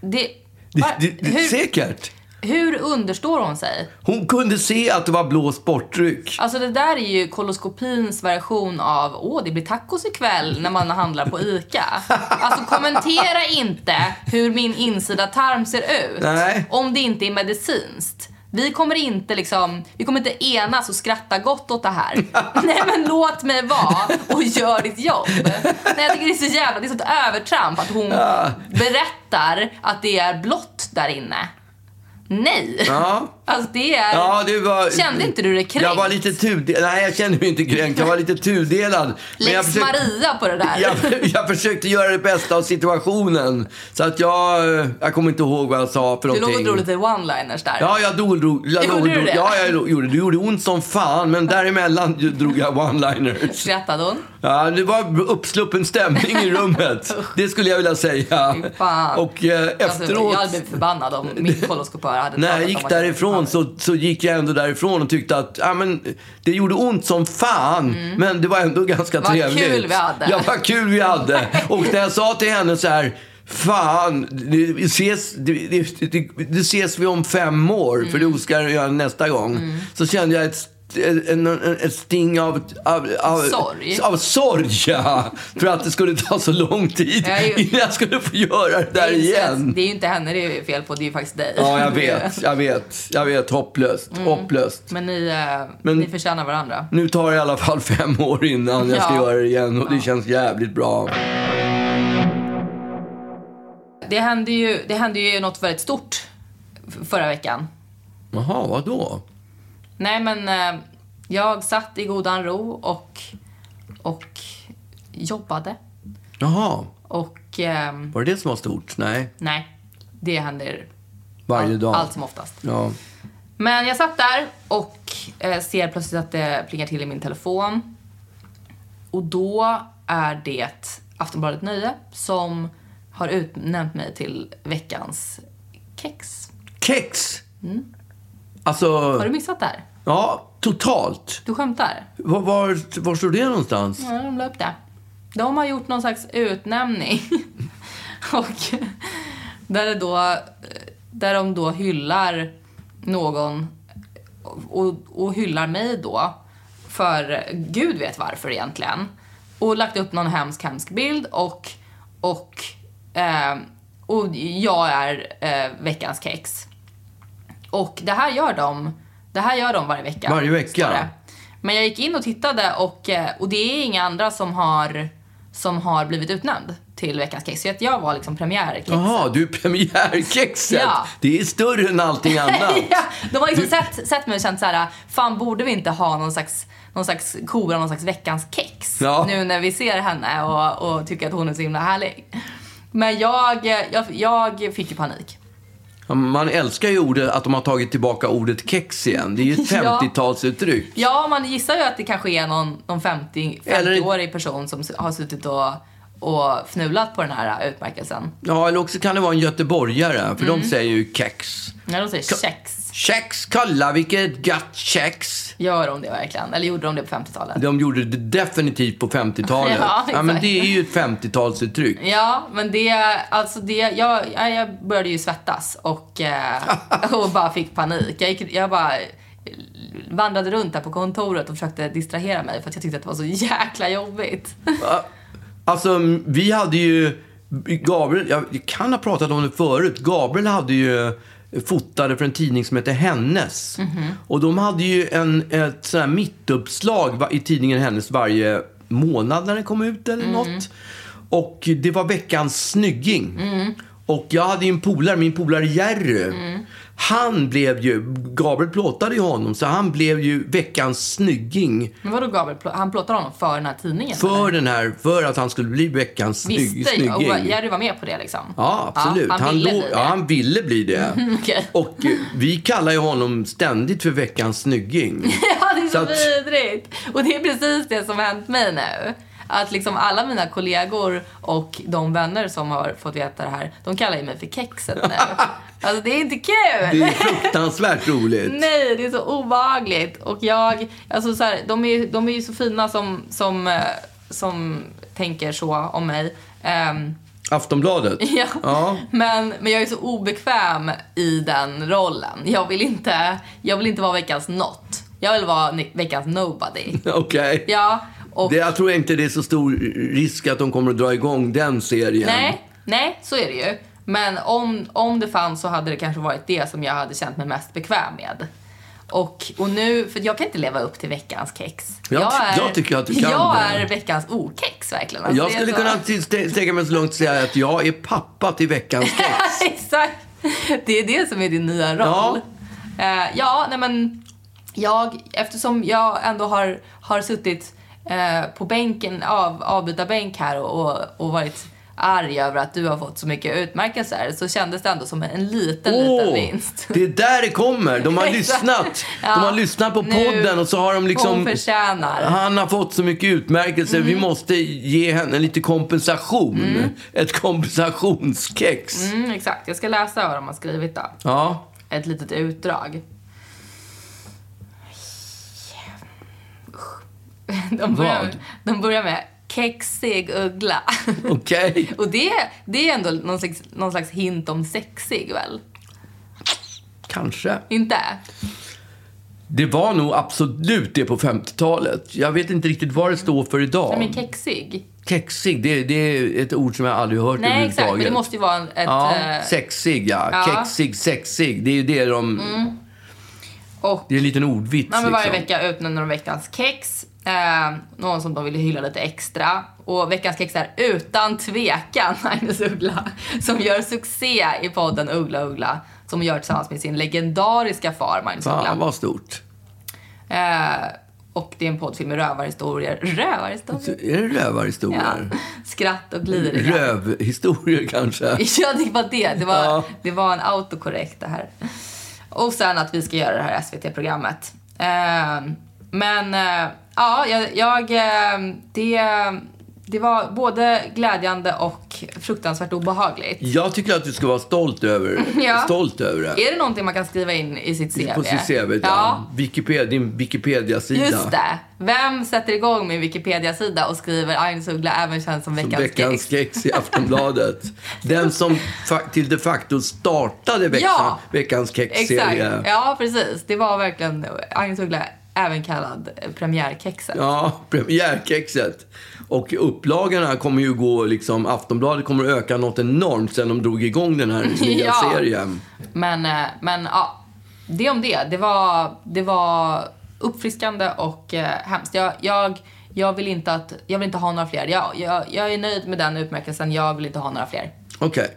[SPEAKER 2] det...
[SPEAKER 1] Det,
[SPEAKER 2] va-
[SPEAKER 1] det, det,
[SPEAKER 2] hur,
[SPEAKER 1] Säkert.
[SPEAKER 2] hur understår hon sig?
[SPEAKER 1] Hon kunde se att det var blå sportdryck.
[SPEAKER 2] Alltså det där är ju koloskopins version av åh, det blir tacos ikväll när man handlar på ICA. Alltså kommentera inte hur min insida tarm ser ut
[SPEAKER 1] Nej.
[SPEAKER 2] om det inte är medicinskt. Vi kommer inte liksom, vi kommer inte enas och skratta gott åt det här. Nej men låt mig vara och gör ditt jobb. Nej jag tycker det är så jävla, det är sånt övertramp att hon berättar att det är blått där inne. Nej!
[SPEAKER 1] Ja.
[SPEAKER 2] Alltså det är...
[SPEAKER 1] Ja, du var,
[SPEAKER 2] Kände inte du dig kränkt?
[SPEAKER 1] Jag var lite tudelad. Nej, jag kände mig inte kränkt. Jag var lite tudelad.
[SPEAKER 2] Lex
[SPEAKER 1] jag försökte-
[SPEAKER 2] Maria på det där.
[SPEAKER 1] Jag, jag försökte göra det bästa av situationen. Så att jag... eh, Jag kommer inte ihåg vad jag sa för
[SPEAKER 2] Du låg
[SPEAKER 1] någonting.
[SPEAKER 2] och drog lite one-liners där.
[SPEAKER 1] Ja, jag drog... drog jag
[SPEAKER 2] Gjorde
[SPEAKER 1] drog,
[SPEAKER 2] du
[SPEAKER 1] drog,
[SPEAKER 2] det?
[SPEAKER 1] Ja, jag gjorde det. Du gjorde ont som fan, men däremellan ju- drog jag one-liners.
[SPEAKER 2] Skrattade hon?
[SPEAKER 1] Ja, det var uppsluppen stämning i rummet. Det skulle jag vilja säga.
[SPEAKER 2] Fy fan.
[SPEAKER 1] Och eh,
[SPEAKER 2] Alltså,
[SPEAKER 1] efteråt...
[SPEAKER 2] jag hade blivit förbannad om min koloskopör hade
[SPEAKER 1] När jag
[SPEAKER 2] pratat
[SPEAKER 1] gick
[SPEAKER 2] om att-
[SPEAKER 1] därifrån så, så gick jag ändå därifrån och tyckte att ja, men, det gjorde ont som fan, men det var ändå ganska
[SPEAKER 2] Mm. Vad kul
[SPEAKER 1] trevligt.
[SPEAKER 2] vi hade.
[SPEAKER 1] Ja, vad kul vi hade. Och när jag sa till henne så här, fan, det det ses, det, det, det, det ses vi om fem år, för
[SPEAKER 2] Mm.
[SPEAKER 1] det ska jag göra nästa gång. Så kände jag ett st- en, en, ett sting av, av, av
[SPEAKER 2] Sorg.
[SPEAKER 1] Av sorg, ja. För att det skulle ta så lång tid
[SPEAKER 2] Jag är ju-
[SPEAKER 1] innan jag skulle få göra det
[SPEAKER 2] Det är
[SPEAKER 1] där
[SPEAKER 2] ju-
[SPEAKER 1] igen.
[SPEAKER 2] Det är ju inte henne det är fel på, det är ju faktiskt dig.
[SPEAKER 1] Ja, jag vet. Jag vet. Jag vet. Hopplöst.
[SPEAKER 2] Mm.
[SPEAKER 1] Hopplöst.
[SPEAKER 2] Men ni, eh,
[SPEAKER 1] Men-
[SPEAKER 2] ni förtjänar varandra.
[SPEAKER 1] Nu tar det i alla fall fem år innan jag ska
[SPEAKER 2] Ja.
[SPEAKER 1] göra det igen och det känns jävligt bra.
[SPEAKER 2] Det hände ju, det hände ju något väldigt stort f- förra veckan.
[SPEAKER 1] Jaha, vadå?
[SPEAKER 2] Nej men eh, jag satt i godan ro och, och jobbade.
[SPEAKER 1] Jaha,
[SPEAKER 2] Och ehm,
[SPEAKER 1] var det det som var stort? Nej,
[SPEAKER 2] nej, det händer
[SPEAKER 1] varje
[SPEAKER 2] all,
[SPEAKER 1] dag.
[SPEAKER 2] allt som oftast.
[SPEAKER 1] Ja.
[SPEAKER 2] Men jag satt där och eh, ser plötsligt att det plingar till i min telefon. Och då är det Aftonbladet Nöje som har utnämnt mig till veckans kex.
[SPEAKER 1] Kex! Alltså,
[SPEAKER 2] Mm. Har du missat det här?
[SPEAKER 1] ja, totalt.
[SPEAKER 2] Du skämtar?
[SPEAKER 1] Var, var, var står det någonstans?
[SPEAKER 2] Ja, de la upp det. De har gjort någon slags utnämning. och där, det då, där de då hyllar någon och, och hyllar mig då för gud vet varför egentligen. Och lagt upp någon hemsk, hemsk bild och, och, eh, och jag är eh, veckans kex. Och det här gör de, det här gör de varje vecka.
[SPEAKER 1] Varje vecka?
[SPEAKER 2] står det. Men jag gick in och tittade och, eh, och det är inga andra som har, som har blivit utnämnd till veckans kex. Så att jag var liksom premiärkexet.
[SPEAKER 1] Jaha, du är premiärkexet!
[SPEAKER 2] Ja.
[SPEAKER 1] Det är större än allting annat.
[SPEAKER 2] ja, de har liksom sett, sett mig och känt så här, fan borde vi inte ha någon slags någon slags kora, någon slags veckans kex.
[SPEAKER 1] Ja.
[SPEAKER 2] Nu när vi ser henne och, och tycker att hon är så himla härlig. Men jag, jag, jag fick ju panik.
[SPEAKER 1] Ja, Man älskar ju ordet, att de har tagit tillbaka ordet kex igen. Det är ju ett
[SPEAKER 2] Ja.
[SPEAKER 1] 50-talsuttryck.
[SPEAKER 2] Ja, man gissar ju att det kanske är någon, någon 50
[SPEAKER 1] Eller-
[SPEAKER 2] 50-årig person som har suttit och, och fnulat på den här utmärkelsen.
[SPEAKER 1] Ja, eller också kan det vara en göteborgare, för
[SPEAKER 2] Mm.
[SPEAKER 1] de säger ju kex.
[SPEAKER 2] När de säger
[SPEAKER 1] Ka-
[SPEAKER 2] kex,
[SPEAKER 1] Kex, kolla vilket gött kex!
[SPEAKER 2] gör de det verkligen? Eller gjorde de det på 50-talet?
[SPEAKER 1] De gjorde det definitivt på 50-talet.
[SPEAKER 2] Ja, exakt.
[SPEAKER 1] men det är ju ett 50-talsuttryck.
[SPEAKER 2] Ja, men det, alltså det, jag, jag- jag började ju svettas och, eh, och bara fick panik. Jag, gick, jag bara vandrade runt där på kontoret och försökte distrahera mig för att jag tyckte att det var så jäkla jobbigt.
[SPEAKER 1] Alltså, vi hade ju... Gabriel, jag kan ha pratat om det förut. Gabriel hade ju fotade för en tidning som heter Hennes. Och de hade ju en, ett sån här mittuppslag va- i tidningen Hennes varje månad när den kom ut eller något. Och det var veckans snygging. Och jag hade ju en polare, min polare Jerry. Han blev ju, Gabriel plåtade ju honom, så han blev ju veckans snygging.
[SPEAKER 2] Men vadå Gabriel, plå- han plåtade honom för den här tidningen?
[SPEAKER 1] För
[SPEAKER 2] eller?
[SPEAKER 1] den här, för att han skulle bli veckans snygg,
[SPEAKER 2] Visste jag, och
[SPEAKER 1] snygging.
[SPEAKER 2] Jerry var med på det liksom?
[SPEAKER 1] Ja, absolut.
[SPEAKER 2] han,
[SPEAKER 1] lå-
[SPEAKER 2] ville bli det.
[SPEAKER 1] ja, han ville bli det.
[SPEAKER 2] okej.
[SPEAKER 1] Och eh, vi kallar ju honom ständigt för veckans snygging.
[SPEAKER 2] Ja, det är
[SPEAKER 1] Så
[SPEAKER 2] så
[SPEAKER 1] att-
[SPEAKER 2] vidrigt. Och det är precis det som hänt mig nu. Att liksom alla mina kollegor och de vänner som har fått veta det här, de kallar ju mig för kexet nu. Alltså det är inte kul!
[SPEAKER 1] Det är fruktansvärt roligt.
[SPEAKER 2] Nej, det är så obehagligt. Och jag, alltså så här, de, är, de är ju så fina som, som, eh, som tänker så om mig. Ehm,
[SPEAKER 1] Aftonbladet.
[SPEAKER 2] Ja.
[SPEAKER 1] Ja.
[SPEAKER 2] Men, men jag är så obekväm i den rollen. Jag vill inte, jag vill inte vara veckans not. Jag vill vara ni- veckans nobody.
[SPEAKER 1] Okej.
[SPEAKER 2] Ja, och
[SPEAKER 1] Det, jag tror inte det är så stor risk att de kommer att dra igång den serien.
[SPEAKER 2] nej, nej, så är det ju. Men om, om det fanns så hade det kanske varit det som jag hade känt mig mest bekväm med. Och, och nu, för jag kan inte leva upp till veckans kex.
[SPEAKER 1] Jag ty- jag tycker att du kan
[SPEAKER 2] Jag
[SPEAKER 1] det.
[SPEAKER 2] är veckans okex verkligen. Alltså,
[SPEAKER 1] Jag
[SPEAKER 2] det är
[SPEAKER 1] skulle
[SPEAKER 2] så-
[SPEAKER 1] kunna t- st- sträcka mig så långt och säga att jag är pappa till veckans kex.
[SPEAKER 2] Exakt! Det är det som är din nya roll.
[SPEAKER 1] Ja.
[SPEAKER 2] Eh, ja, nej men jag, eftersom jag ändå har, har suttit eh, på bänken, av, avbytarbänk här och, och, och varit arg över att du har fått så mycket utmärkelser så kändes det ändå som en liten, liten
[SPEAKER 1] Åh,
[SPEAKER 2] vinst.
[SPEAKER 1] Det är där det kommer. De har lyssnat. De
[SPEAKER 2] Ja,
[SPEAKER 1] har lyssnat på
[SPEAKER 2] nu-
[SPEAKER 1] podden och så har de
[SPEAKER 2] Hon
[SPEAKER 1] liksom...
[SPEAKER 2] förtjänar.
[SPEAKER 1] Han har fått så mycket utmärkelser. Vi
[SPEAKER 2] Mm.
[SPEAKER 1] måste ge henne lite kompensation. Ett kompensationskex.
[SPEAKER 2] Mm, exakt, jag ska läsa vad de har skrivit då.
[SPEAKER 1] Ja.
[SPEAKER 2] ett litet utdrag. Usch. De börjar,
[SPEAKER 1] Vad?
[SPEAKER 2] de börjar med kexig uggla.
[SPEAKER 1] Okej.
[SPEAKER 2] Och det, det är ändå någon slags, någon slags hint om sexig väl?
[SPEAKER 1] Kanske.
[SPEAKER 2] Inte?
[SPEAKER 1] Det var nog absolut det på 50-talet. Jag vet inte riktigt vad det står för idag.
[SPEAKER 2] Nej men kexig.
[SPEAKER 1] Kexig, det, det är ett ord som jag aldrig hört
[SPEAKER 2] Nej exakt, men det
[SPEAKER 1] överhuvudtaget.
[SPEAKER 2] måste ju vara en- ett...
[SPEAKER 1] Ja,
[SPEAKER 2] eh,
[SPEAKER 1] sexig ja.
[SPEAKER 2] ja.
[SPEAKER 1] Kexig, sexig. Det är ju det de...
[SPEAKER 2] och
[SPEAKER 1] Det är en liten ordvits
[SPEAKER 2] Ja, men varje
[SPEAKER 1] liksom.
[SPEAKER 2] vecka utnämner de veckans kex. Eh, någon som de vill hylla lite extra. Och veckans kex är utan tvekan Agnes Uggla. Som gör succé i podden Uggla Uggla. Som hon gör tillsammans med sin legendariska far Magnus
[SPEAKER 1] Fan
[SPEAKER 2] Uggla.
[SPEAKER 1] vad stort.
[SPEAKER 2] Eh, och det är en poddfilm med rövarhistorier.
[SPEAKER 1] Så
[SPEAKER 2] Rövarhistorier?
[SPEAKER 1] är det
[SPEAKER 2] Ja.
[SPEAKER 1] rövarhistorier?
[SPEAKER 2] Skratt och gliringar.
[SPEAKER 1] Rövhistorier kanske?
[SPEAKER 2] Ja, det var det. Det var,
[SPEAKER 1] Ja.
[SPEAKER 2] det var en autokorrekt det här. Och sen att vi ska göra det här SVT-programmet. Ehm, men eh, ja, jag, jag, eh, det, det var både glädjande och fruktansvärt obehagligt.
[SPEAKER 1] Jag tycker att du ska vara stolt över,
[SPEAKER 2] Ja.
[SPEAKER 1] stolt över det.
[SPEAKER 2] Är det någonting man kan skriva in i sitt CV?
[SPEAKER 1] På sitt CV, ja. Wikipedia, din Wikipedia-sida.
[SPEAKER 2] Just det. Vem sätter igång min Wikipedia-sida och skriver Agnes Uggla även känns som veckans,
[SPEAKER 1] Veckans
[SPEAKER 2] kex?
[SPEAKER 1] kex i Aftonbladet. Den som fa- till de facto startade veckan,
[SPEAKER 2] Ja.
[SPEAKER 1] Veckans
[SPEAKER 2] Exakt.
[SPEAKER 1] kex-serie.
[SPEAKER 2] Ja, precis. Det var verkligen Agnes Uggla, även kallad premiärkexet.
[SPEAKER 1] Ja, premiärkexet. Och upplagorna kommer ju gå, liksom, Aftonbladet kommer att öka något enormt sen de drog igång den här nya
[SPEAKER 2] Ja.
[SPEAKER 1] serien.
[SPEAKER 2] Men, eh, men ja, det om det. Det var, det var uppfriskande och eh, hemskt. Jag, jag, jag, vill inte att, jag vill inte ha några fler. Jag, jag, jag är nöjd med den utmärkelsen. Jag vill inte ha några fler.
[SPEAKER 1] Okej.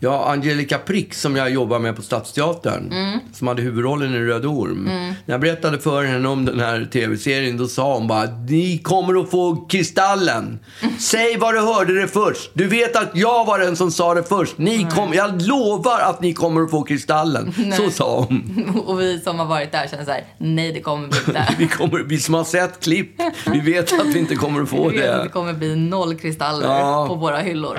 [SPEAKER 1] Ja, Angelica Prick som jag jobbar med på Stadsteatern,
[SPEAKER 2] Mm.
[SPEAKER 1] som hade huvudrollen i Röd Orm. När jag berättade för henne om den här tv-serien, då sa hon bara Ni kommer att få Kristallen. Säg var du hörde det först. Du vet att jag var den som sa det först. Ni kom, jag lovar att ni kommer att få Kristallen. Så sa hon.
[SPEAKER 2] Och vi som har varit där känner så här, nej det kommer vi
[SPEAKER 1] Vi,
[SPEAKER 2] inte.
[SPEAKER 1] kommer, vi som har sett klipp, vi vet att vi inte kommer att få
[SPEAKER 2] Vi vet att det
[SPEAKER 1] det.
[SPEAKER 2] kommer bli noll kristaller
[SPEAKER 1] Ja.
[SPEAKER 2] på våra hyllor.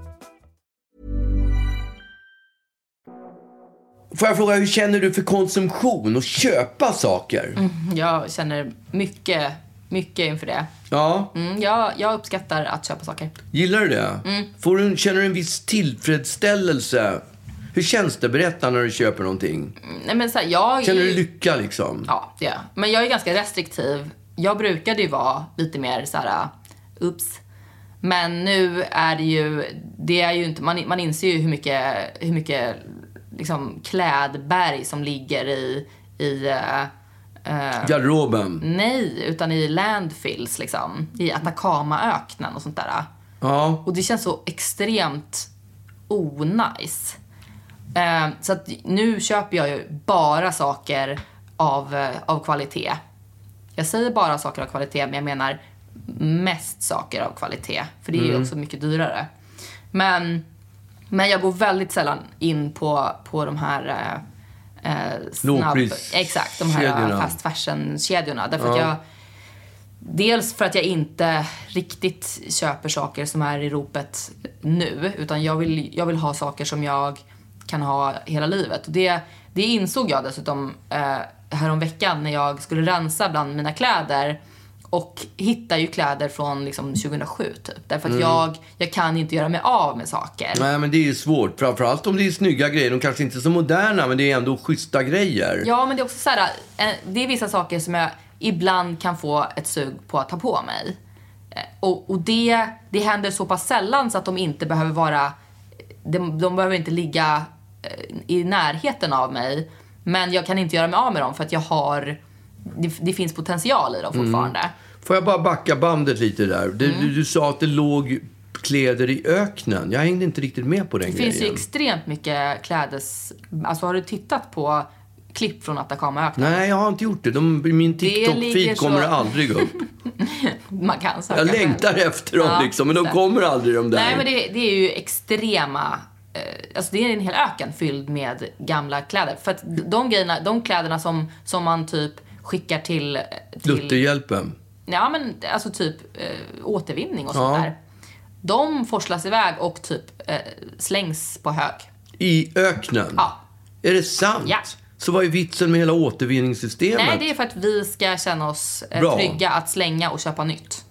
[SPEAKER 1] Får jag fråga, hur känner du för konsumtion och köpa saker?
[SPEAKER 2] Mm. Jag känner mycket, mycket inför det.
[SPEAKER 1] Ja.
[SPEAKER 2] Mm, jag, jag uppskattar att köpa saker.
[SPEAKER 1] Gillar du det?
[SPEAKER 2] Mm.
[SPEAKER 1] Får du, känner du en viss tillfredsställelse? Hur känns det? Berätta när du köper någonting.
[SPEAKER 2] Nej, men så här, jag är
[SPEAKER 1] Känner du
[SPEAKER 2] ju-
[SPEAKER 1] lycka liksom?
[SPEAKER 2] Mm. Ja, det gör jag. Men jag är ganska restriktiv. Jag brukade ju vara lite mer så här, ups. Men nu är det ju, det är ju inte, man, man inser ju hur mycket, hur mycket liksom klädberg som ligger i, i eh, Mm.
[SPEAKER 1] Garderoben?
[SPEAKER 2] nej, utan i landfills liksom. I Atacamaöknen och sånt där.
[SPEAKER 1] Ja.
[SPEAKER 2] Och det känns så extremt onajs. Eh, så att nu köper jag ju bara saker av, eh, av kvalitet. Jag säger bara saker av kvalitet, men jag menar
[SPEAKER 1] Mm.
[SPEAKER 2] mest saker av kvalitet. För det är ju också mycket dyrare. Men Men jag går väldigt sällan in på, på de här eh, eh, snabb,
[SPEAKER 1] Lågpris-
[SPEAKER 2] Exakt, de här
[SPEAKER 1] kedjorna.
[SPEAKER 2] fast fashion-kedjorna. Därför att jag, dels för att jag inte riktigt köper saker som är i ropet nu. Utan jag vill, jag vill ha saker som jag kan ha hela livet. Och det, det insåg jag dessutom eh, häromveckan när jag skulle rensa bland mina kläder. Och hittar ju kläder från liksom 2007 typ. Därför att jag, jag kan inte göra mig av med saker.
[SPEAKER 1] Nej, men det är ju svårt. Framförallt om det är snygga grejer. De kanske inte är så moderna, men det är ändå schyssta grejer.
[SPEAKER 2] Ja, men det är också så här, eh, det är vissa saker som jag ibland kan få ett sug på att ta på mig. Eh, Och, och det, det händer så pass sällan så att de inte behöver vara, de, de behöver inte ligga eh, i närheten av mig. Men jag kan inte göra mig av med dem för att jag har, det, det finns potential i dem
[SPEAKER 1] Mm.
[SPEAKER 2] fortfarande.
[SPEAKER 1] Får jag bara backa bandet lite där? Du,
[SPEAKER 2] Mm.
[SPEAKER 1] du, du sa att det låg kläder i öknen. Jag hängde inte riktigt med på den
[SPEAKER 2] Det
[SPEAKER 1] grejen.
[SPEAKER 2] finns ju extremt mycket klädes, alltså har du tittat på klipp från Atacamaöknen?
[SPEAKER 1] Nej, jag har inte gjort det. De, i min
[SPEAKER 2] ligger
[SPEAKER 1] TikTok-feed
[SPEAKER 2] så-
[SPEAKER 1] kommer det aldrig upp.
[SPEAKER 2] Man kan söka
[SPEAKER 1] Jag
[SPEAKER 2] själv.
[SPEAKER 1] längtar efter dem
[SPEAKER 2] Ja,
[SPEAKER 1] liksom, men de
[SPEAKER 2] så.
[SPEAKER 1] kommer aldrig de där.
[SPEAKER 2] Nej men det, det är ju extrema, eh, alltså det är en hel öken fylld med gamla kläder. För att de grejerna, de kläderna som, som man typ skickar till... till
[SPEAKER 1] Lutherhjälpen.
[SPEAKER 2] Ja men alltså typ eh, återvinning och sånt
[SPEAKER 1] Ja.
[SPEAKER 2] där. De forslas iväg och typ eh, slängs på hög.
[SPEAKER 1] I öknen?
[SPEAKER 2] Ja.
[SPEAKER 1] Är det sant?
[SPEAKER 2] Ja.
[SPEAKER 1] Så vad är vitsen med hela återvinningssystemet?
[SPEAKER 2] Nej det är för att vi ska känna oss eh,
[SPEAKER 1] Bra.
[SPEAKER 2] trygga att slänga och köpa nytt.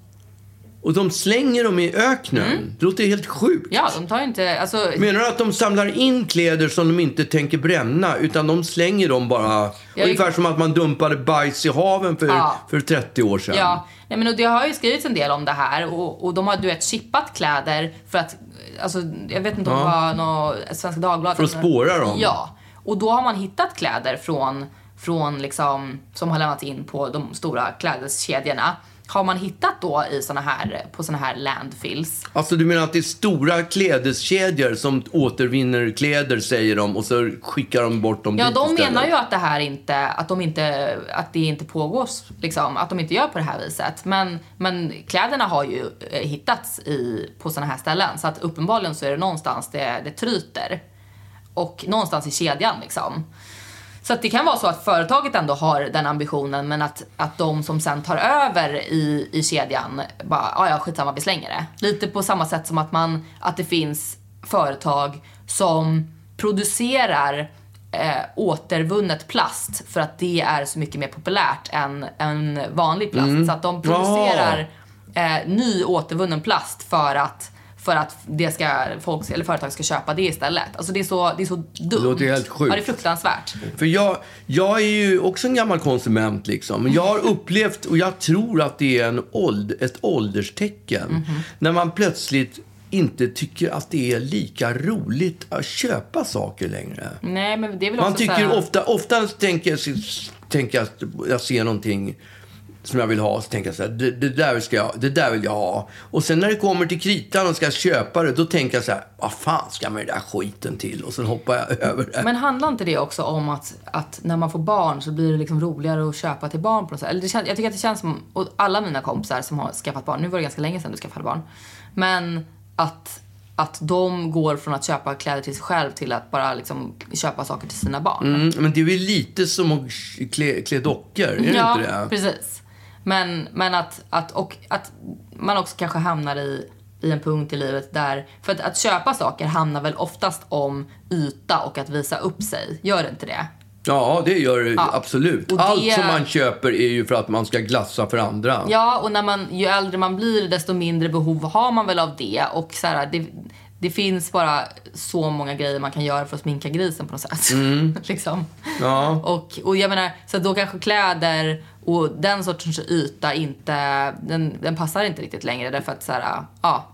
[SPEAKER 1] Och de slänger dem i öknen? Det låter helt sjukt.
[SPEAKER 2] Mm. Ja, de tar ju inte, alltså...
[SPEAKER 1] Menar du att de samlar in kläder som de inte tänker bränna, utan de slänger dem bara?
[SPEAKER 2] Jag-
[SPEAKER 1] Ungefär som att man dumpade bajs i haven för,
[SPEAKER 2] Ja.
[SPEAKER 1] för 30 år sedan.
[SPEAKER 2] Ja, nej men och det har ju skrivits en del om det här och, och de har du vet chippat kläder för att, alltså jag vet inte om det var något Svenska Dagbladet.
[SPEAKER 1] För att
[SPEAKER 2] eller-
[SPEAKER 1] spåra dem.
[SPEAKER 2] Ja, och då har man hittat kläder från, från liksom, som har lämnats in på de stora klädeskedjorna. Har man hittat då i såna här, på såna här landfills.
[SPEAKER 1] Alltså du menar att det är stora klädeskedjor som återvinner kläder, säger de, och så skickar de bort dem
[SPEAKER 2] Ja,
[SPEAKER 1] dit
[SPEAKER 2] de
[SPEAKER 1] istället.
[SPEAKER 2] menar ju att det här inte, att de inte, att det inte pågår, liksom, att de inte gör på det här viset. Men, men kläderna har ju eh, hittats i, på sådana här ställen, så att uppenbarligen så är det någonstans det, det tryter. Och någonstans i kedjan liksom. Så att det kan vara så att företaget ändå har den ambitionen, men att, att de som sen tar över i, i kedjan bara, "Ah, ja ja skitsamma vi slänger det. Lite på samma sätt som att man, att det finns företag som producerar eh, återvunnet plast för att det är så mycket mer populärt än, än vanlig plast.
[SPEAKER 1] Mm.
[SPEAKER 2] Så att de producerar eh, ny återvunnen plast för att för att det ska, folk, eller företag ska köpa det istället. Alltså det är så, det är så dumt. Det
[SPEAKER 1] låter helt sjukt.
[SPEAKER 2] Ja, det är fruktansvärt.
[SPEAKER 1] För jag, jag är ju också en gammal konsument liksom. Men jag har upplevt, och jag tror att det är en åld, ett ålderstecken, när man plötsligt inte tycker att det är lika roligt att köpa saker längre.
[SPEAKER 2] Nej, men det är väl
[SPEAKER 1] Man
[SPEAKER 2] också
[SPEAKER 1] tycker
[SPEAKER 2] såhär,
[SPEAKER 1] ofta, ofta tänker, jag- tänker jag att jag ser någonting som jag vill ha, så tänker jag så här, det, det, där ska jag, det där vill jag ha. Och sen när det kommer till kritan och ska köpa det, då tänker jag så här, vad fan ska jag med den där skiten till? Och sen hoppar jag över det.
[SPEAKER 2] Men handlar inte det också om att, att när man får barn så blir det liksom roligare att köpa till barn på något sätt? Eller det känns, jag tycker att det känns som, och alla mina kompisar som har skaffat barn, nu var det ganska länge sedan du skaffade barn, men att, att de går från att köpa kläder till sig själv till att bara liksom köpa saker till sina barn.
[SPEAKER 1] Mm, men det är väl lite som att klä, klä dockor, är
[SPEAKER 2] ja,
[SPEAKER 1] det inte det?
[SPEAKER 2] precis. Men, men att, att, och att man också kanske hamnar i, i en punkt i livet där... För att, att köpa saker handlar väl oftast om yta och att visa upp sig. Gör det inte det?
[SPEAKER 1] Ja, det gör det absolut.
[SPEAKER 2] Och det-
[SPEAKER 1] Allt som man köper är ju för att man ska glassa för andra.
[SPEAKER 2] Ja, och när man, ju äldre man blir desto mindre behov har man väl av det. Och så här, det, det finns bara så många grejer man kan göra för att sminka grisen på något sätt. liksom.
[SPEAKER 1] Mm. Ja.
[SPEAKER 2] Och, och jag menar, så då kanske kläder och den sortens yta inte, den, den passar inte riktigt längre därför att så här, ja,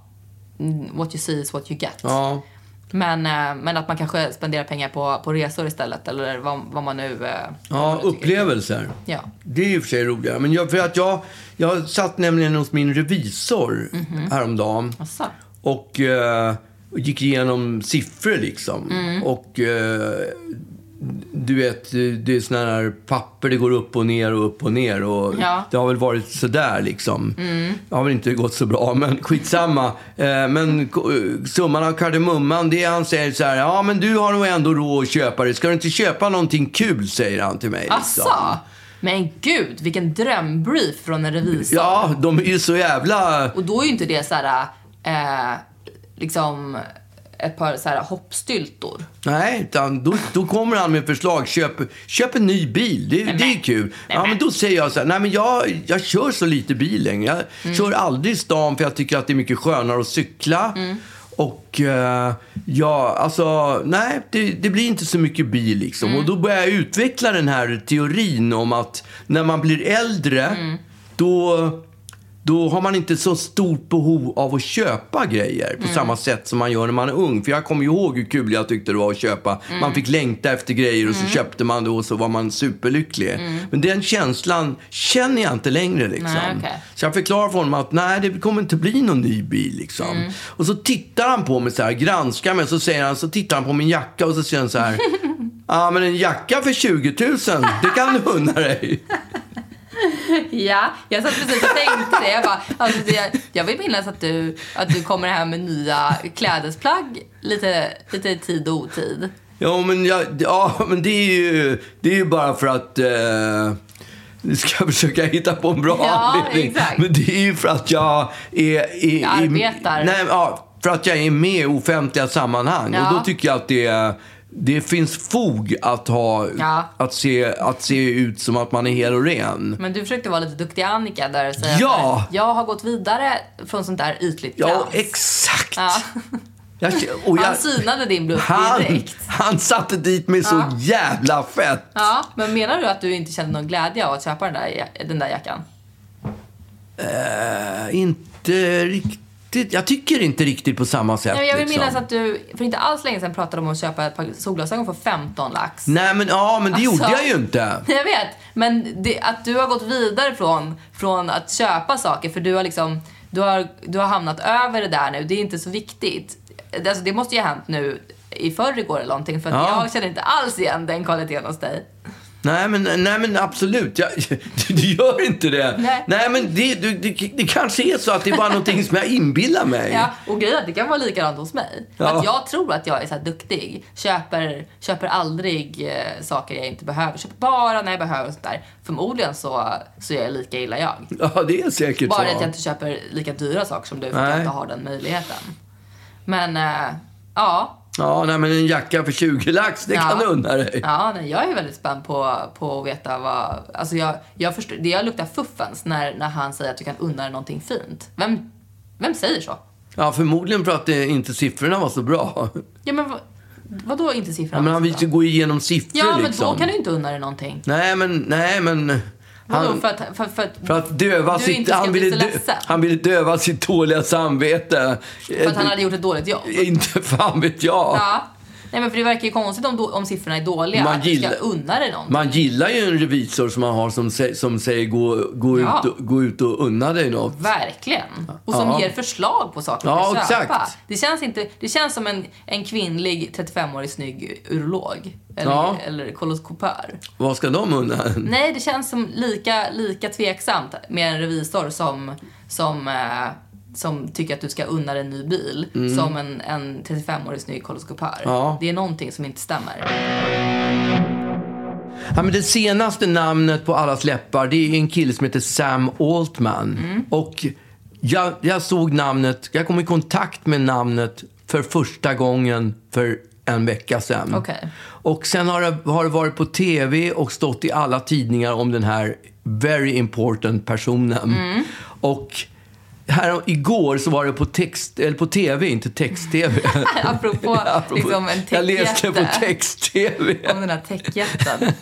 [SPEAKER 2] mm, what you see is what you get.
[SPEAKER 1] Ja.
[SPEAKER 2] Men, eh, men att man kanske spenderar pengar på, på resor istället eller vad, vad man nu... eh, vad
[SPEAKER 1] Ja,
[SPEAKER 2] man nu tycker.
[SPEAKER 1] upplevelser.
[SPEAKER 2] Ja.
[SPEAKER 1] Det är i och för sig roligare. Men jag, för att jag, jag satt nämligen hos min revisor
[SPEAKER 2] Mhm.
[SPEAKER 1] häromdagen.
[SPEAKER 2] Asså.
[SPEAKER 1] Och
[SPEAKER 2] Mm.
[SPEAKER 1] eh, gick igenom siffror liksom. Och eh, du vet, det är sådana här papper, det går upp och ner och upp och ner. Och
[SPEAKER 2] Ja. Mm.
[SPEAKER 1] Det har väl varit sådär liksom. Det har väl inte gått så bra, men skitsamma. Eh, men ko- eh, summan av kardemumman, det är han säger så här, ja men du har nog ändå råd att köpa det. Ska du inte köpa någonting kul, säger han till mig. liksom.
[SPEAKER 2] Asså? Alltså, Men gud, vilken drömbrief från en revisor.
[SPEAKER 1] Ja, de är ju så jävla...
[SPEAKER 2] Och då är ju inte det så här, eh, liksom ett par så här hoppstyltor.
[SPEAKER 1] Nej, utan då, då kommer han med förslag. Köp, köp en ny bil, det, det är kul. Ja, men då säger jag så här, nej men jag, jag kör så lite bil längre. Jag kör aldrig i stan för jag tycker att det är mycket skönare att cykla. Och eh, ja, alltså, nej, det, det blir inte så mycket bil liksom. Och då börjar jag utveckla den här teorin om att när man blir äldre, då då har man inte så stort behov av att köpa grejer på
[SPEAKER 2] Mm.
[SPEAKER 1] samma sätt som man gör när man är ung. För jag kommer ju ihåg hur kul jag tyckte det var att köpa.
[SPEAKER 2] Mm.
[SPEAKER 1] Man fick längta efter grejer och så köpte man det och så var man superlycklig. Men den känslan känner jag inte längre liksom.
[SPEAKER 2] Mm. Nej, okej.
[SPEAKER 1] Så jag förklarar för honom att nej, det kommer inte bli någon ny bil liksom.
[SPEAKER 2] Mm.
[SPEAKER 1] Och så tittar han på mig så här, granskar mig, så säger han, så tittar han på min jacka och så säger han så här. Ja, men en jacka för 20 000, det kan du unna dig.
[SPEAKER 2] Ja, jag satt precis och tänkte det. Jag, bara, alltså det, jag vill minnas att du, att du kommer hem med nya klädesplagg lite, lite i tid och otid.
[SPEAKER 1] Ja, men, jag, ja, men det är ju, det är ju bara för att... Eh, nu ska jag försöka hitta på en bra
[SPEAKER 2] Ja,
[SPEAKER 1] anledning.
[SPEAKER 2] exakt.
[SPEAKER 1] Men det är ju för att jag är... är
[SPEAKER 2] Jag arbetar.
[SPEAKER 1] Är, nej, ja, för att jag är med i offentliga sammanhang.
[SPEAKER 2] Ja.
[SPEAKER 1] Och då tycker jag att det är... Det finns fog att, ha,
[SPEAKER 2] Ja.
[SPEAKER 1] att, se, att se ut som att man är hel och ren.
[SPEAKER 2] Men du försökte vara lite duktig Annika där och säga
[SPEAKER 1] Ja!
[SPEAKER 2] så här, jag har gått vidare från sånt där ytligt
[SPEAKER 1] Ja,
[SPEAKER 2] trams."
[SPEAKER 1] exakt!
[SPEAKER 2] Ja.
[SPEAKER 1] Jag, och jag,
[SPEAKER 2] Han synade din bluff
[SPEAKER 1] han,
[SPEAKER 2] direkt.
[SPEAKER 1] han satte dit mig så jävla fett!
[SPEAKER 2] Ja, men menar du att du inte kände någon glädje av att köpa den där, ja- den där jackan?
[SPEAKER 1] Inte riktigt. Jag tycker inte riktigt på samma sätt.
[SPEAKER 2] Nej, men jag vill
[SPEAKER 1] liksom.
[SPEAKER 2] minnas att du för inte alls länge sedan pratade om att köpa ett par solglasögon för 15 lax.
[SPEAKER 1] Nej, men, ja, men det
[SPEAKER 2] Alltså-
[SPEAKER 1] gjorde jag ju inte.
[SPEAKER 2] Jag vet, men det, att du har gått vidare från, från att köpa saker för du har liksom du har, du har hamnat över det där nu. Det är inte så viktigt. Alltså, det måste ju ha hänt nu i förrgår eller någonting för att
[SPEAKER 1] Ja.
[SPEAKER 2] jag känner inte alls igen den kvaliteten hos dig.
[SPEAKER 1] Nej, men, nej, men absolut. Jag, du gör inte det.
[SPEAKER 2] Nej.
[SPEAKER 1] men det, det, det, det kanske är så att det är bara någonting som jag inbillar mig.
[SPEAKER 2] Ja, och grejen är att det kan vara likadant hos mig.
[SPEAKER 1] Ja.
[SPEAKER 2] Att jag tror att jag är så här duktig. Köper, köper aldrig eh, saker jag inte behöver. Köper bara när jag behöver och sånt där. Förmodligen så, så är jag lika illa jag.
[SPEAKER 1] Ja, det är säkert
[SPEAKER 2] Bara
[SPEAKER 1] så.
[SPEAKER 2] att jag inte köper lika dyra saker som du för att jag
[SPEAKER 1] Nej.
[SPEAKER 2] inte har den möjligheten. Men eh, ja,
[SPEAKER 1] Ja, nej, men en jacka för 20 lax, det
[SPEAKER 2] Ja.
[SPEAKER 1] kan du unna dig.
[SPEAKER 2] ja nej, jag är väldigt spänd på, på att veta vad... Alltså jag, jag, förstår, det jag luktar fuffens när, när han säger att du kan unna dig någonting fint. Vem, vem säger så?
[SPEAKER 1] Ja, förmodligen för att det, inte siffrorna var så bra.
[SPEAKER 2] Ja men vad, vadå inte siffran?
[SPEAKER 1] Ja, men han
[SPEAKER 2] alltså
[SPEAKER 1] vill ju
[SPEAKER 2] då?
[SPEAKER 1] gå igenom siffror
[SPEAKER 2] Ja men
[SPEAKER 1] liksom.
[SPEAKER 2] då kan du inte unna dig någonting.
[SPEAKER 1] Nej, men... Nej, men
[SPEAKER 2] Vadå
[SPEAKER 1] han-
[SPEAKER 2] för att... För, för att
[SPEAKER 1] För att eh, döva
[SPEAKER 2] Du
[SPEAKER 1] sitt...
[SPEAKER 2] inte ska
[SPEAKER 1] Han
[SPEAKER 2] bli
[SPEAKER 1] ville,
[SPEAKER 2] så
[SPEAKER 1] dö,
[SPEAKER 2] ledsen.
[SPEAKER 1] han ville döva sitt dåliga samvete. Eh,
[SPEAKER 2] för att han hade gjort ett dåligt jobb.
[SPEAKER 1] Inte fan vet jag.
[SPEAKER 2] Ja. Nej men för det verkar ju konstigt om, då- om siffrorna är dåliga.
[SPEAKER 1] Man
[SPEAKER 2] att du ska
[SPEAKER 1] gillar-
[SPEAKER 2] unna dig någonting.
[SPEAKER 1] Man gillar ju en revisor som man har som, sä- som säger gå, gå,
[SPEAKER 2] Ja.
[SPEAKER 1] ut, och- gå ut och unna dig något.
[SPEAKER 2] Verkligen. Och som
[SPEAKER 1] Ja.
[SPEAKER 2] ger förslag på saker
[SPEAKER 1] Ja,
[SPEAKER 2] att köpa.
[SPEAKER 1] exakt.
[SPEAKER 2] Det känns, inte, det känns som en, en kvinnlig 35-årig snygg urolog. Eller,
[SPEAKER 1] Ja.
[SPEAKER 2] eller koloskopör.
[SPEAKER 1] Vad ska de unna en?
[SPEAKER 2] Nej, det känns som lika, lika tveksamt med en revisor som, som, eh, som tycker att du ska unna dig en ny bil som en, en 35-årig snygg koloskopör.
[SPEAKER 1] Mm. Ja.
[SPEAKER 2] Det är någonting som inte stämmer.
[SPEAKER 1] Ja, men det senaste namnet på allas läppar det är en kille som heter Sam Altman.
[SPEAKER 2] Mm.
[SPEAKER 1] Och jag, jag såg namnet, jag kom i kontakt med namnet för första gången för en vecka sedan.
[SPEAKER 2] Okej.
[SPEAKER 1] Och sen har det, har det varit på tv och stått i alla tidningar om den här very important personen.
[SPEAKER 2] Mm.
[SPEAKER 1] Och här, igår så var det på, text, eller på tv, inte text-tv.
[SPEAKER 2] Apropå, liksom en
[SPEAKER 1] jag läste på
[SPEAKER 2] techjätte.
[SPEAKER 1] text-tv.
[SPEAKER 2] Om den här techjätten.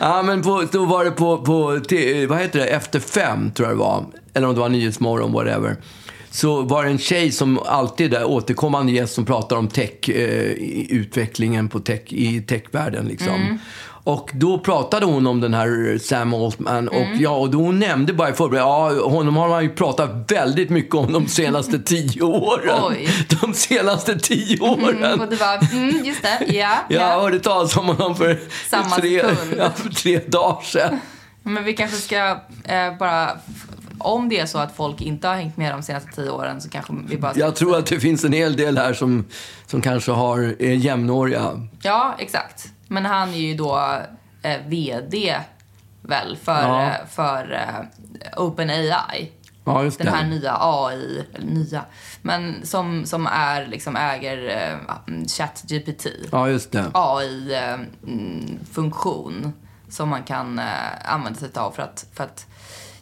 [SPEAKER 1] Ja, men på, då var det på, på te- vad heter det, Efter fem tror jag det var. Eller om det var Nyhetsmorgon, whatever. så var det en tjej som alltid är återkommande gäst som pratar om tech, eh, i- utvecklingen på tech, i techvärlden. Liksom.
[SPEAKER 2] Mm.
[SPEAKER 1] Och då pratade hon om den här Sam Altman och,
[SPEAKER 2] Mm.
[SPEAKER 1] ja, och då hon nämnde bara i förberedelse, ja, honom har man ju pratat väldigt mycket om de senaste tio åren.
[SPEAKER 2] Oj.
[SPEAKER 1] De senaste tio åren.
[SPEAKER 2] Mm, och du bara, mm, just det, ja.
[SPEAKER 1] Jag
[SPEAKER 2] ja.
[SPEAKER 1] hörde talas om honom för,
[SPEAKER 2] Samma
[SPEAKER 1] tre,
[SPEAKER 2] sekund.
[SPEAKER 1] ja, för tre dagar sedan.
[SPEAKER 2] Men vi kanske ska eh, bara... Om det är så att folk inte har hängt med de senaste tio åren så kanske vi bara...
[SPEAKER 1] Jag tror att det finns en hel del här som, som kanske har, är jämnåriga.
[SPEAKER 2] Ja, exakt. Men han är ju då eh, VD väl för,
[SPEAKER 1] Ja.
[SPEAKER 2] eh, för eh, OpenAI.
[SPEAKER 1] Ja, just
[SPEAKER 2] Den
[SPEAKER 1] det.
[SPEAKER 2] här nya AI, eller nya, men som, som är liksom äger eh, ChatGPT.
[SPEAKER 1] Ja, just det.
[SPEAKER 2] AI-funktion mm, som man kan eh, använda sig av för att, för att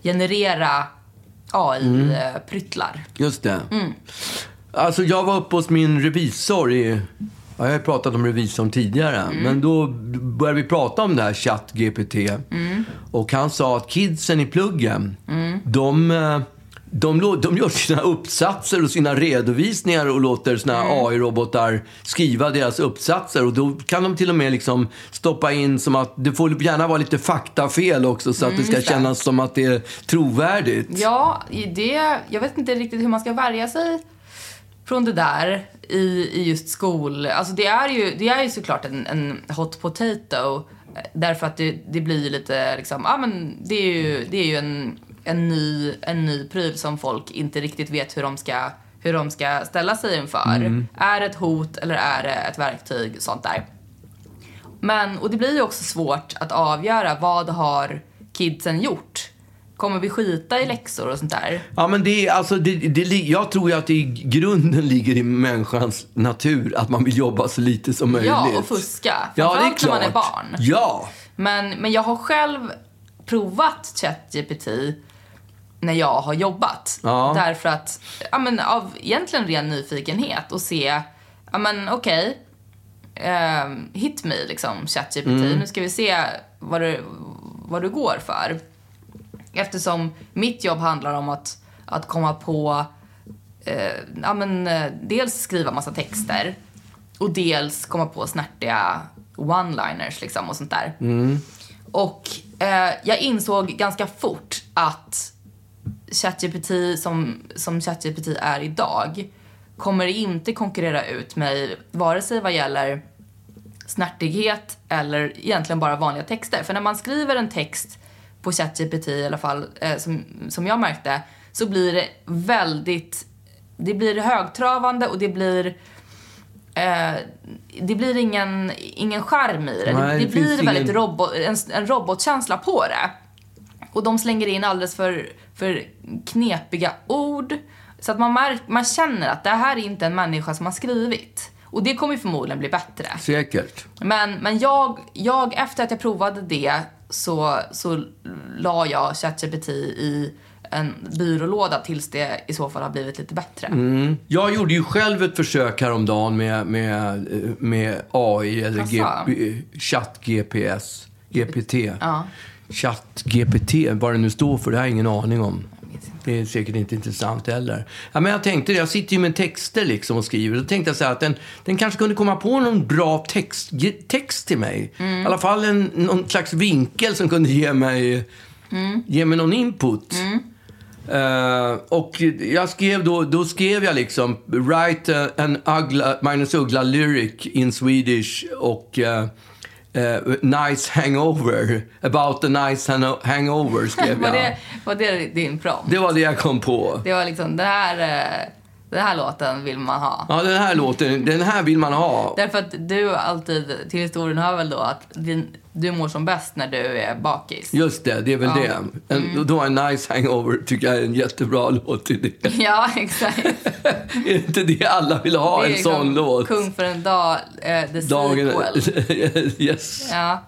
[SPEAKER 2] generera
[SPEAKER 1] Mm.
[SPEAKER 2] eh, AI-pryttlar.
[SPEAKER 1] Just det. Alltså, jag var uppe hos min revisor i... Ja, jag har ju pratat om revisorn tidigare. Men då började vi prata om det här ChatGPT. Och han sa att kidsen i pluggen, de, eh, de, lå- de gör sina uppsatser och sina redovisningar och låter sina AI-robotar skriva deras uppsatser. Och då kan de till och med liksom stoppa in som att det får gärna vara lite faktafel också så att det ska kännas som att det är trovärdigt.
[SPEAKER 2] Ja, i det, jag vet inte riktigt hur man ska värja sig från det där i, i just skol... Alltså det är ju, det är ju såklart en, en hot potato eh, därför att det, det blir ju lite liksom, ja ah, men det är ju, det är ju en, en, ny, en ny pryl som folk inte riktigt vet hur de ska, hur de ska ställa sig inför. Är det ett hot eller är det ett verktyg? Sånt där. Men, och det blir ju också svårt att avgöra vad har kidsen gjort? Kommer vi skita i läxor och sånt där?
[SPEAKER 1] Ja, men det är, alltså, det, det, li- jag tror ju att det i grunden ligger i människans natur att man vill jobba så lite som möjligt.
[SPEAKER 2] Ja, och fuska.
[SPEAKER 1] Ja, det är
[SPEAKER 2] Framförallt
[SPEAKER 1] klart.
[SPEAKER 2] när man är barn.
[SPEAKER 1] Ja.
[SPEAKER 2] Men, men jag har själv provat ChatGPT när jag har jobbat.
[SPEAKER 1] Ja.
[SPEAKER 2] Därför att, ja men av egentligen ren nyfikenhet och se, ja men okej, ehm, hit me liksom ChatGPT. Nu ska vi se vad du, vad du går för. Eftersom mitt jobb handlar om att, att komma på, eh, ja men eh, dels skriva massa texter och dels komma på snärtiga one-liners liksom och sånt där. Och eh, jag insåg ganska fort att ChatGPT som, som ChatGPT är idag kommer inte konkurrera ut mig vare sig vad gäller snärtighet eller egentligen bara vanliga texter. För när man skriver en text på ChatGPT i alla fall, eh, som, som jag märkte, så blir det väldigt, det blir högtravande och det blir eh, det blir ingen, ingen charm i det.
[SPEAKER 1] Nej,
[SPEAKER 2] det,
[SPEAKER 1] det
[SPEAKER 2] det blir
[SPEAKER 1] finns
[SPEAKER 2] väldigt
[SPEAKER 1] ingen-
[SPEAKER 2] robot, en, en robotkänsla på det. Och de slänger in alldeles för, för knepiga ord. Så att man, märk, man känner att det här är inte en människa som har skrivit. Och det kommer ju förmodligen bli bättre.
[SPEAKER 1] Säkert.
[SPEAKER 2] Men, men jag, jag, efter att jag provade det så, så la jag ChatGPT i en byrålåda tills det i så fall har blivit lite bättre.
[SPEAKER 1] Jag gjorde ju själv ett försök häromdagen med, med, eh, med AI, eller eh,
[SPEAKER 2] Jaså?
[SPEAKER 1] GP, chatt-GPS, GPT. Chatt-GPT, vad det nu står för, det har jag ingen aning om. Det är säkert inte intressant heller. Ja, men jag tänkte det, jag sitter ju med texter liksom och skriver. Då tänkte jag så här att den, den kanske kunde komma på någon bra text, ge- text till mig. I alla fall en, någon slags vinkel som kunde ge mig, ge mig någon input. Eh, och jag skrev då, då skrev jag liksom “Write eh, an Uggla, Magnus Uggla lyric in Swedish” och eh, eh, “Nice hangover”. “About a nice hano- hangover” skrev
[SPEAKER 2] Var,
[SPEAKER 1] jag.
[SPEAKER 2] det, var det din prompt?
[SPEAKER 1] Det var det jag kom på.
[SPEAKER 2] Det var liksom, det här, eh, den här låten vill man ha.
[SPEAKER 1] Ja, den här låten, den här vill man ha.
[SPEAKER 2] Därför att du alltid, till historien hör väl då att din, du mår som bäst när du är bakis.
[SPEAKER 1] Just det, det är väl
[SPEAKER 2] Ja. Mm.
[SPEAKER 1] det. En, Då är “Nice hangover” tycker jag är en jättebra låt till det.
[SPEAKER 2] Ja, exakt.
[SPEAKER 1] är inte det alla vill ha,
[SPEAKER 2] Det är
[SPEAKER 1] en
[SPEAKER 2] liksom
[SPEAKER 1] sån låt?
[SPEAKER 2] Kung för en dag, eh, the
[SPEAKER 1] Dagen...
[SPEAKER 2] sequel.
[SPEAKER 1] yes.
[SPEAKER 2] Ja,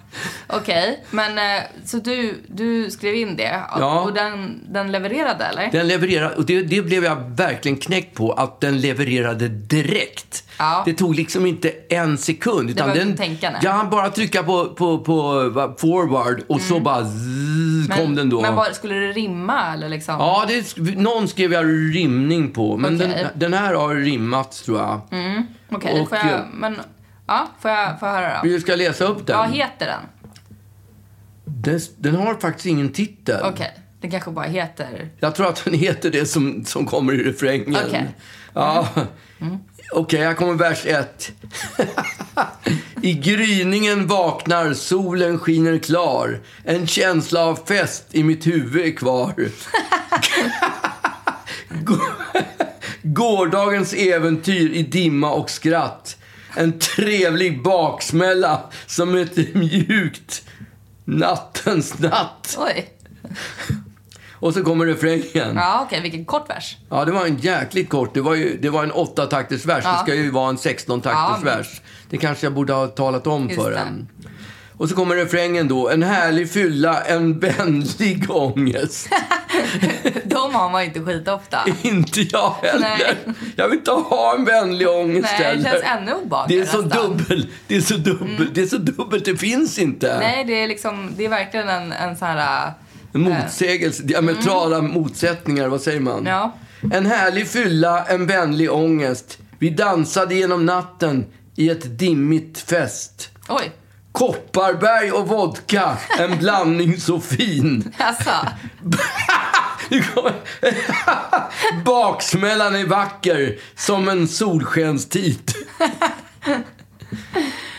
[SPEAKER 2] okej. Men eh, så du, du skrev in det och,
[SPEAKER 1] Ja.
[SPEAKER 2] och den, den levererade eller?
[SPEAKER 1] Den levererar, och det, det blev jag verkligen knäckt på, att den levererade direkt.
[SPEAKER 2] Ja.
[SPEAKER 1] Det tog liksom inte en sekund. Utan
[SPEAKER 2] behövde
[SPEAKER 1] den,
[SPEAKER 2] inte tänka, nej.
[SPEAKER 1] jag hann bara trycka på, på, på va- forward och så bara zzz, så kom den då.
[SPEAKER 2] Mm. Men vad, skulle det rimma eller liksom?
[SPEAKER 1] Ja, det, är- någon skrev jag rimning på, men den,
[SPEAKER 2] Okej. Mm.
[SPEAKER 1] den här har rimmats tror jag.
[SPEAKER 2] Okej,
[SPEAKER 1] och-
[SPEAKER 2] får jag, men, ja, får jag, får jag höra då?
[SPEAKER 1] Vi ska läsa upp den.
[SPEAKER 2] Vad heter den?
[SPEAKER 1] den. Den har faktiskt ingen titel.
[SPEAKER 2] Okej, den kanske bara heter...
[SPEAKER 1] Jag tror att den heter det som, som kommer i refrängen.
[SPEAKER 2] Okej.
[SPEAKER 1] Ja. Mm. Okej, här kommer vers ett. I gryningen vaknar, solen skiner klar. En känsla av fest i mitt huvud är kvar. Gå- Gårdagens äventyr i dimma och skratt. En trevlig baksmälla som ett mjukt nattens natt.
[SPEAKER 2] Oj.
[SPEAKER 1] Och så kommer refrängen.
[SPEAKER 2] Ja, okej, vilken kort vers.
[SPEAKER 1] Ja, det var en jäkligt kort. Det var, ju, det var en åtta takters vers. Det ska ju vara en 16 takters
[SPEAKER 2] Ja, men-
[SPEAKER 1] vers. Det kanske jag borde ha talat om
[SPEAKER 2] Just
[SPEAKER 1] för
[SPEAKER 2] det.
[SPEAKER 1] en. Och så kommer refrängen då. En härlig fylla, en vänlig ångest.
[SPEAKER 2] De har man ju inte skitofta.
[SPEAKER 1] inte jag heller.
[SPEAKER 2] Nej.
[SPEAKER 1] Jag vill inte ha en vänlig ångest
[SPEAKER 2] Nej, det
[SPEAKER 1] heller.
[SPEAKER 2] känns ännu obehagligare
[SPEAKER 1] Det är så
[SPEAKER 2] nästan. Mm.
[SPEAKER 1] dubbel. Det är så dubbel. Det är så dubbelt. Det finns inte.
[SPEAKER 2] Nej, det är liksom, det är verkligen en, en sån här... äh,
[SPEAKER 1] En Motsägelse, diametrala motsättningar, vad säger man?
[SPEAKER 2] Mm. Ja.
[SPEAKER 1] En härlig fylla, en vänlig ångest. Vi dansade genom natten i ett dimmigt fest.
[SPEAKER 2] Oj,
[SPEAKER 1] Kopparberg och vodka, en blandning så fin.
[SPEAKER 2] alltså.
[SPEAKER 1] Nu kommer- Baksmällan är vacker, som en solskenstitt.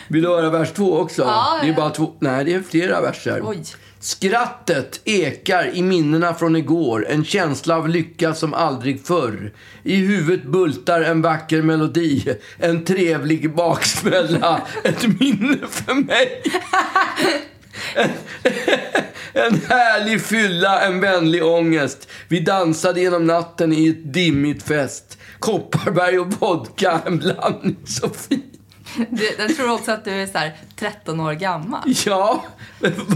[SPEAKER 1] Vill du höra vers två också?
[SPEAKER 2] Ja,
[SPEAKER 1] det är
[SPEAKER 2] ja.
[SPEAKER 1] bara två. Nej, det är flera verser.
[SPEAKER 2] Oj.
[SPEAKER 1] Skrattet ekar i minnena från igår, en känsla av lycka som aldrig förr. I huvudet bultar en vacker melodi, en trevlig baksmälla, ett minne för mig. En härlig fylla, en vänlig ångest. Vi dansade genom natten i ett dimmigt fest. Kopparberg och vodka, en blandning så fin.
[SPEAKER 2] Du, den tror också att du är så här 13 år gammal.
[SPEAKER 1] Ja,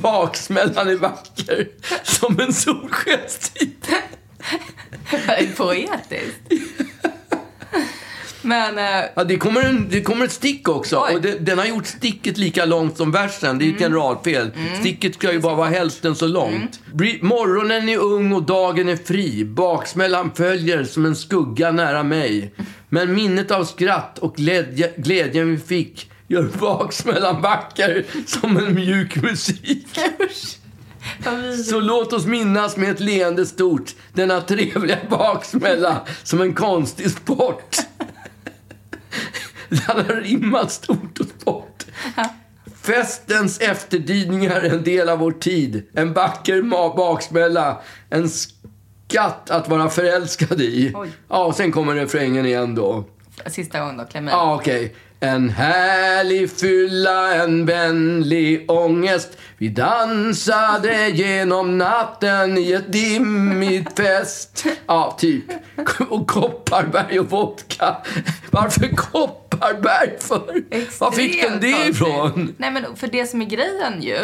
[SPEAKER 1] baksmällan är vacker som en solskenstid.
[SPEAKER 2] Det är poetiskt. Men, eh,
[SPEAKER 1] Ja, det, kommer en, det kommer ett stick också.
[SPEAKER 2] Oj.
[SPEAKER 1] Och det, den har gjort sticket lika långt som versen. Det är ett generalfel. Sticket ska ju bara vara hälften så långt. Bri- Morgonen är ung och dagen är fri. Baksmällan följer som en skugga nära mig. Men minnet av skratt och glädje, glädjen vi fick gör baksmällan vacker som en mjuk musik.
[SPEAKER 2] vad mysigt.
[SPEAKER 1] Så låt oss minnas med ett leende stort denna trevliga baksmälla som en konstig sport. Den har rimmat stort och sport. Festens efterdyningar är en del av vår tid. En vacker ma- baksmälla. En skatt att vara förälskad i.
[SPEAKER 2] Oj.
[SPEAKER 1] Ja, och sen kommer refrängen igen då.
[SPEAKER 2] Sista gången då, kläm i.
[SPEAKER 1] Ja, okej. En härlig fylla, en vänlig ångest. Vi dansade genom natten i ett dimmigt fest. Ja, typ. Och Kopparberg och vodka. Varför Kopparberg för? Var fick den det
[SPEAKER 2] Extremt
[SPEAKER 1] ifrån?
[SPEAKER 2] konstigt. Nej men för det som är grejen ju,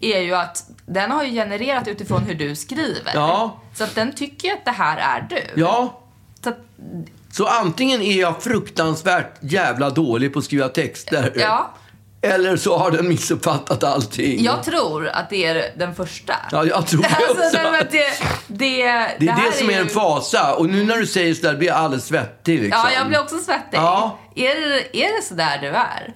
[SPEAKER 2] är ju att den har ju genererat utifrån hur du skriver.
[SPEAKER 1] Ja.
[SPEAKER 2] Så att den tycker ju att det här är du.
[SPEAKER 1] Ja,
[SPEAKER 2] Så att,
[SPEAKER 1] så antingen är jag fruktansvärt jävla dålig på att skriva texter.
[SPEAKER 2] ja,
[SPEAKER 1] Eller så har den missuppfattat allting.
[SPEAKER 2] jag tror att det är den första.
[SPEAKER 1] Ja, jag tror det
[SPEAKER 2] Alltså,
[SPEAKER 1] också.
[SPEAKER 2] nej, men det, det,
[SPEAKER 1] Det är det,
[SPEAKER 2] här
[SPEAKER 1] som är
[SPEAKER 2] ju-
[SPEAKER 1] en fasa. Och nu när du säger sådär blir jag alldeles svettig. Liksom.
[SPEAKER 2] Ja, jag blir också svettig.
[SPEAKER 1] Ja.
[SPEAKER 2] Är, det, är det så där du är?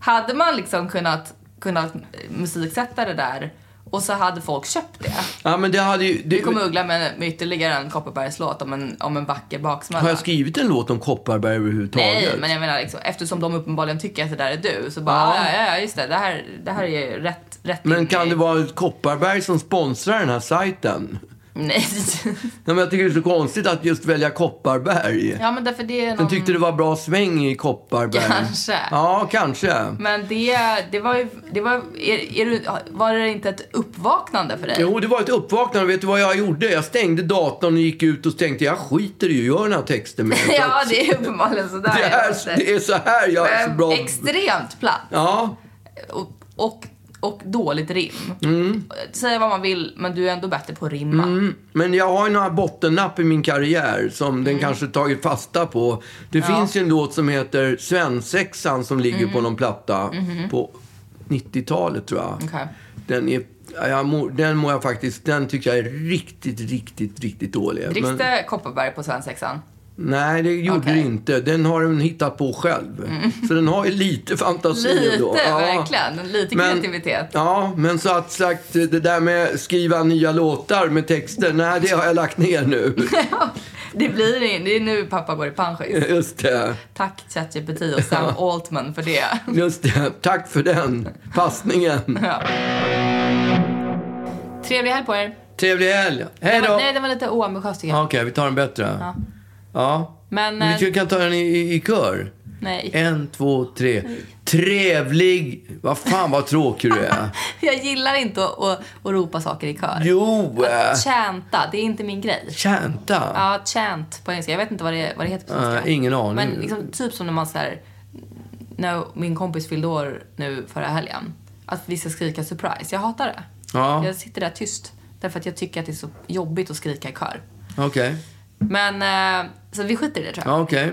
[SPEAKER 2] Hade man liksom kunnat, kunnat musiksätta det där och så hade folk köpt det.
[SPEAKER 1] Ja, men det hade ju... Det,
[SPEAKER 2] Nu kommer Uggla med, med ytterligigare en Kopparbergslåt om en, om en vacker baksmälla.
[SPEAKER 1] har jag skrivit en låt om Kopparberg överhuvudtaget?
[SPEAKER 2] Nej, men jag menar liksom, eftersom de uppenbarligen tycker att det där är du så bara,
[SPEAKER 1] Ja.
[SPEAKER 2] ja, ja, ja just det, det här, det här är ju rätt, rätt in
[SPEAKER 1] Men kan
[SPEAKER 2] i-
[SPEAKER 1] det vara Kopparberg som sponsrar den här sajten?
[SPEAKER 2] Nej.
[SPEAKER 1] Nej, men jag tycker det är så konstigt att just välja Kopparberg.
[SPEAKER 2] ja, men därför det är någon...
[SPEAKER 1] Den tyckte det var bra sväng i Kopparberg.
[SPEAKER 2] Kanske.
[SPEAKER 1] Ja, kanske.
[SPEAKER 2] Men det, det var ju, det var, är, är du, var det inte ett uppvaknande för dig?
[SPEAKER 1] Jo, det var ett uppvaknande. Vet du vad jag gjorde? Jag stängde datorn och gick ut och tänkte jag skiter i att göra den här texten med. För
[SPEAKER 2] ja,
[SPEAKER 1] att
[SPEAKER 2] det är uppenbarligen sådär.
[SPEAKER 1] det, är, det är så här jag är så
[SPEAKER 2] Eh,
[SPEAKER 1] bra.
[SPEAKER 2] Extremt platt.
[SPEAKER 1] Ja,
[SPEAKER 2] Och, och, och dåligt rim. Säga vad man vill, men du är ändå bättre på att rimma.
[SPEAKER 1] Mm. Men jag har ju några bottennapp i min karriär som
[SPEAKER 2] Mm.
[SPEAKER 1] den kanske tagit fasta på.
[SPEAKER 2] Mm.
[SPEAKER 1] Det finns ju en låt som heter Svensexan som ligger på någon platta. På, 90-talet tror jag.
[SPEAKER 2] Mm-hmm. Okej.
[SPEAKER 1] Den, är, jag mår, den mår jag faktiskt, den tycker jag är riktigt, riktigt, riktigt dålig.
[SPEAKER 2] Dricks
[SPEAKER 1] Men-
[SPEAKER 2] det Kopparberg på svensexan?
[SPEAKER 1] Nej, det gjorde
[SPEAKER 2] Okej. Mm.
[SPEAKER 1] det inte. Den har den hittat på själv. Så den har ju lite fantasi
[SPEAKER 2] Lite,
[SPEAKER 1] ändå.
[SPEAKER 2] verkligen. Lite kreativitet.
[SPEAKER 1] Ja, men så att sagt, det där med skriva nya låtar med texter, nej, det har jag lagt ner nu.
[SPEAKER 2] Det blir in. Det är nu pappa går i pension.
[SPEAKER 1] Just det.
[SPEAKER 2] Tack ChatGPT och Sam Altman för det.
[SPEAKER 1] Just det. Tack för den passningen.
[SPEAKER 2] Trevlig helg på er.
[SPEAKER 1] Trevlig helg. Hej då.
[SPEAKER 2] Nej, det var lite oambitiöst tycker jag.
[SPEAKER 1] Ja, Okej, vi tar en bättre. Ja.
[SPEAKER 2] Men, eh,
[SPEAKER 1] Men vi kan ta den i, i, i kör.
[SPEAKER 2] Nej.
[SPEAKER 1] En, två, tre. Trevlig... Vad fan vad tråkig du är.
[SPEAKER 2] Jag gillar inte att, att, att ropa saker i kör.
[SPEAKER 1] Jo! eh,
[SPEAKER 2] Att chanta, det är inte min grej.
[SPEAKER 1] Chanta.
[SPEAKER 2] Ja, chant på engelska. Jag vet inte vad det, vad det heter på svenska.
[SPEAKER 1] Nej, ingen aning.
[SPEAKER 2] Men liksom, typ som när man så här, när min kompis fyllde år nu förra helgen. Att vi ska skrika surprise. Jag hatar det.
[SPEAKER 1] Ja.
[SPEAKER 2] Jag sitter där tyst. Därför att jag tycker att det är så jobbigt att skrika i kör.
[SPEAKER 1] Okej.
[SPEAKER 2] Men, eh, så vi skiter i det tror jag.
[SPEAKER 1] Ja, okej.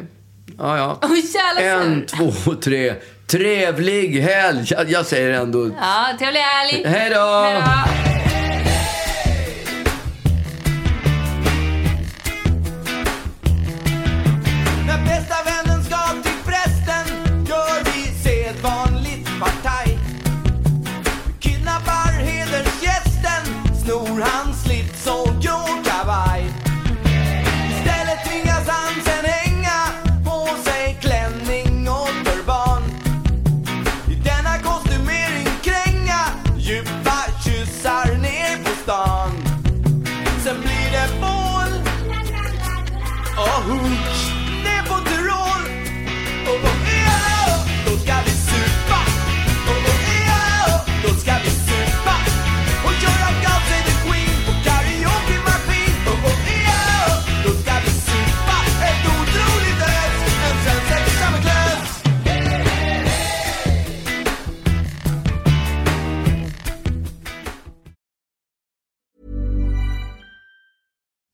[SPEAKER 1] Ja, ja.
[SPEAKER 2] Åh, jävla
[SPEAKER 1] En,
[SPEAKER 2] sur!
[SPEAKER 1] två, tre. Trevlig helg! Jag, jag säger ändå...
[SPEAKER 2] Ja, trevlig helg!
[SPEAKER 1] Hej då!
[SPEAKER 2] Hej då!
[SPEAKER 4] När bästa vännen ska till prästen gör vi sedvanligt partaj. Kidnappar hedersgästen, snor hans slips och grå kavaj. Istället tvingas han sen hänga på sig klänning och turban. I denna kostymering kränga djupa kyssar ner på stan. Sen blir det bål och hooch ner på Tyrol. Och på EAO, då ska vi supa. Och på EAO, då ska vi supa. Och köra God Save the Queen på karaoke-maskin. Och på EAO, då ska vi supa. Ett otroligt ös, en svensk sexa med glös.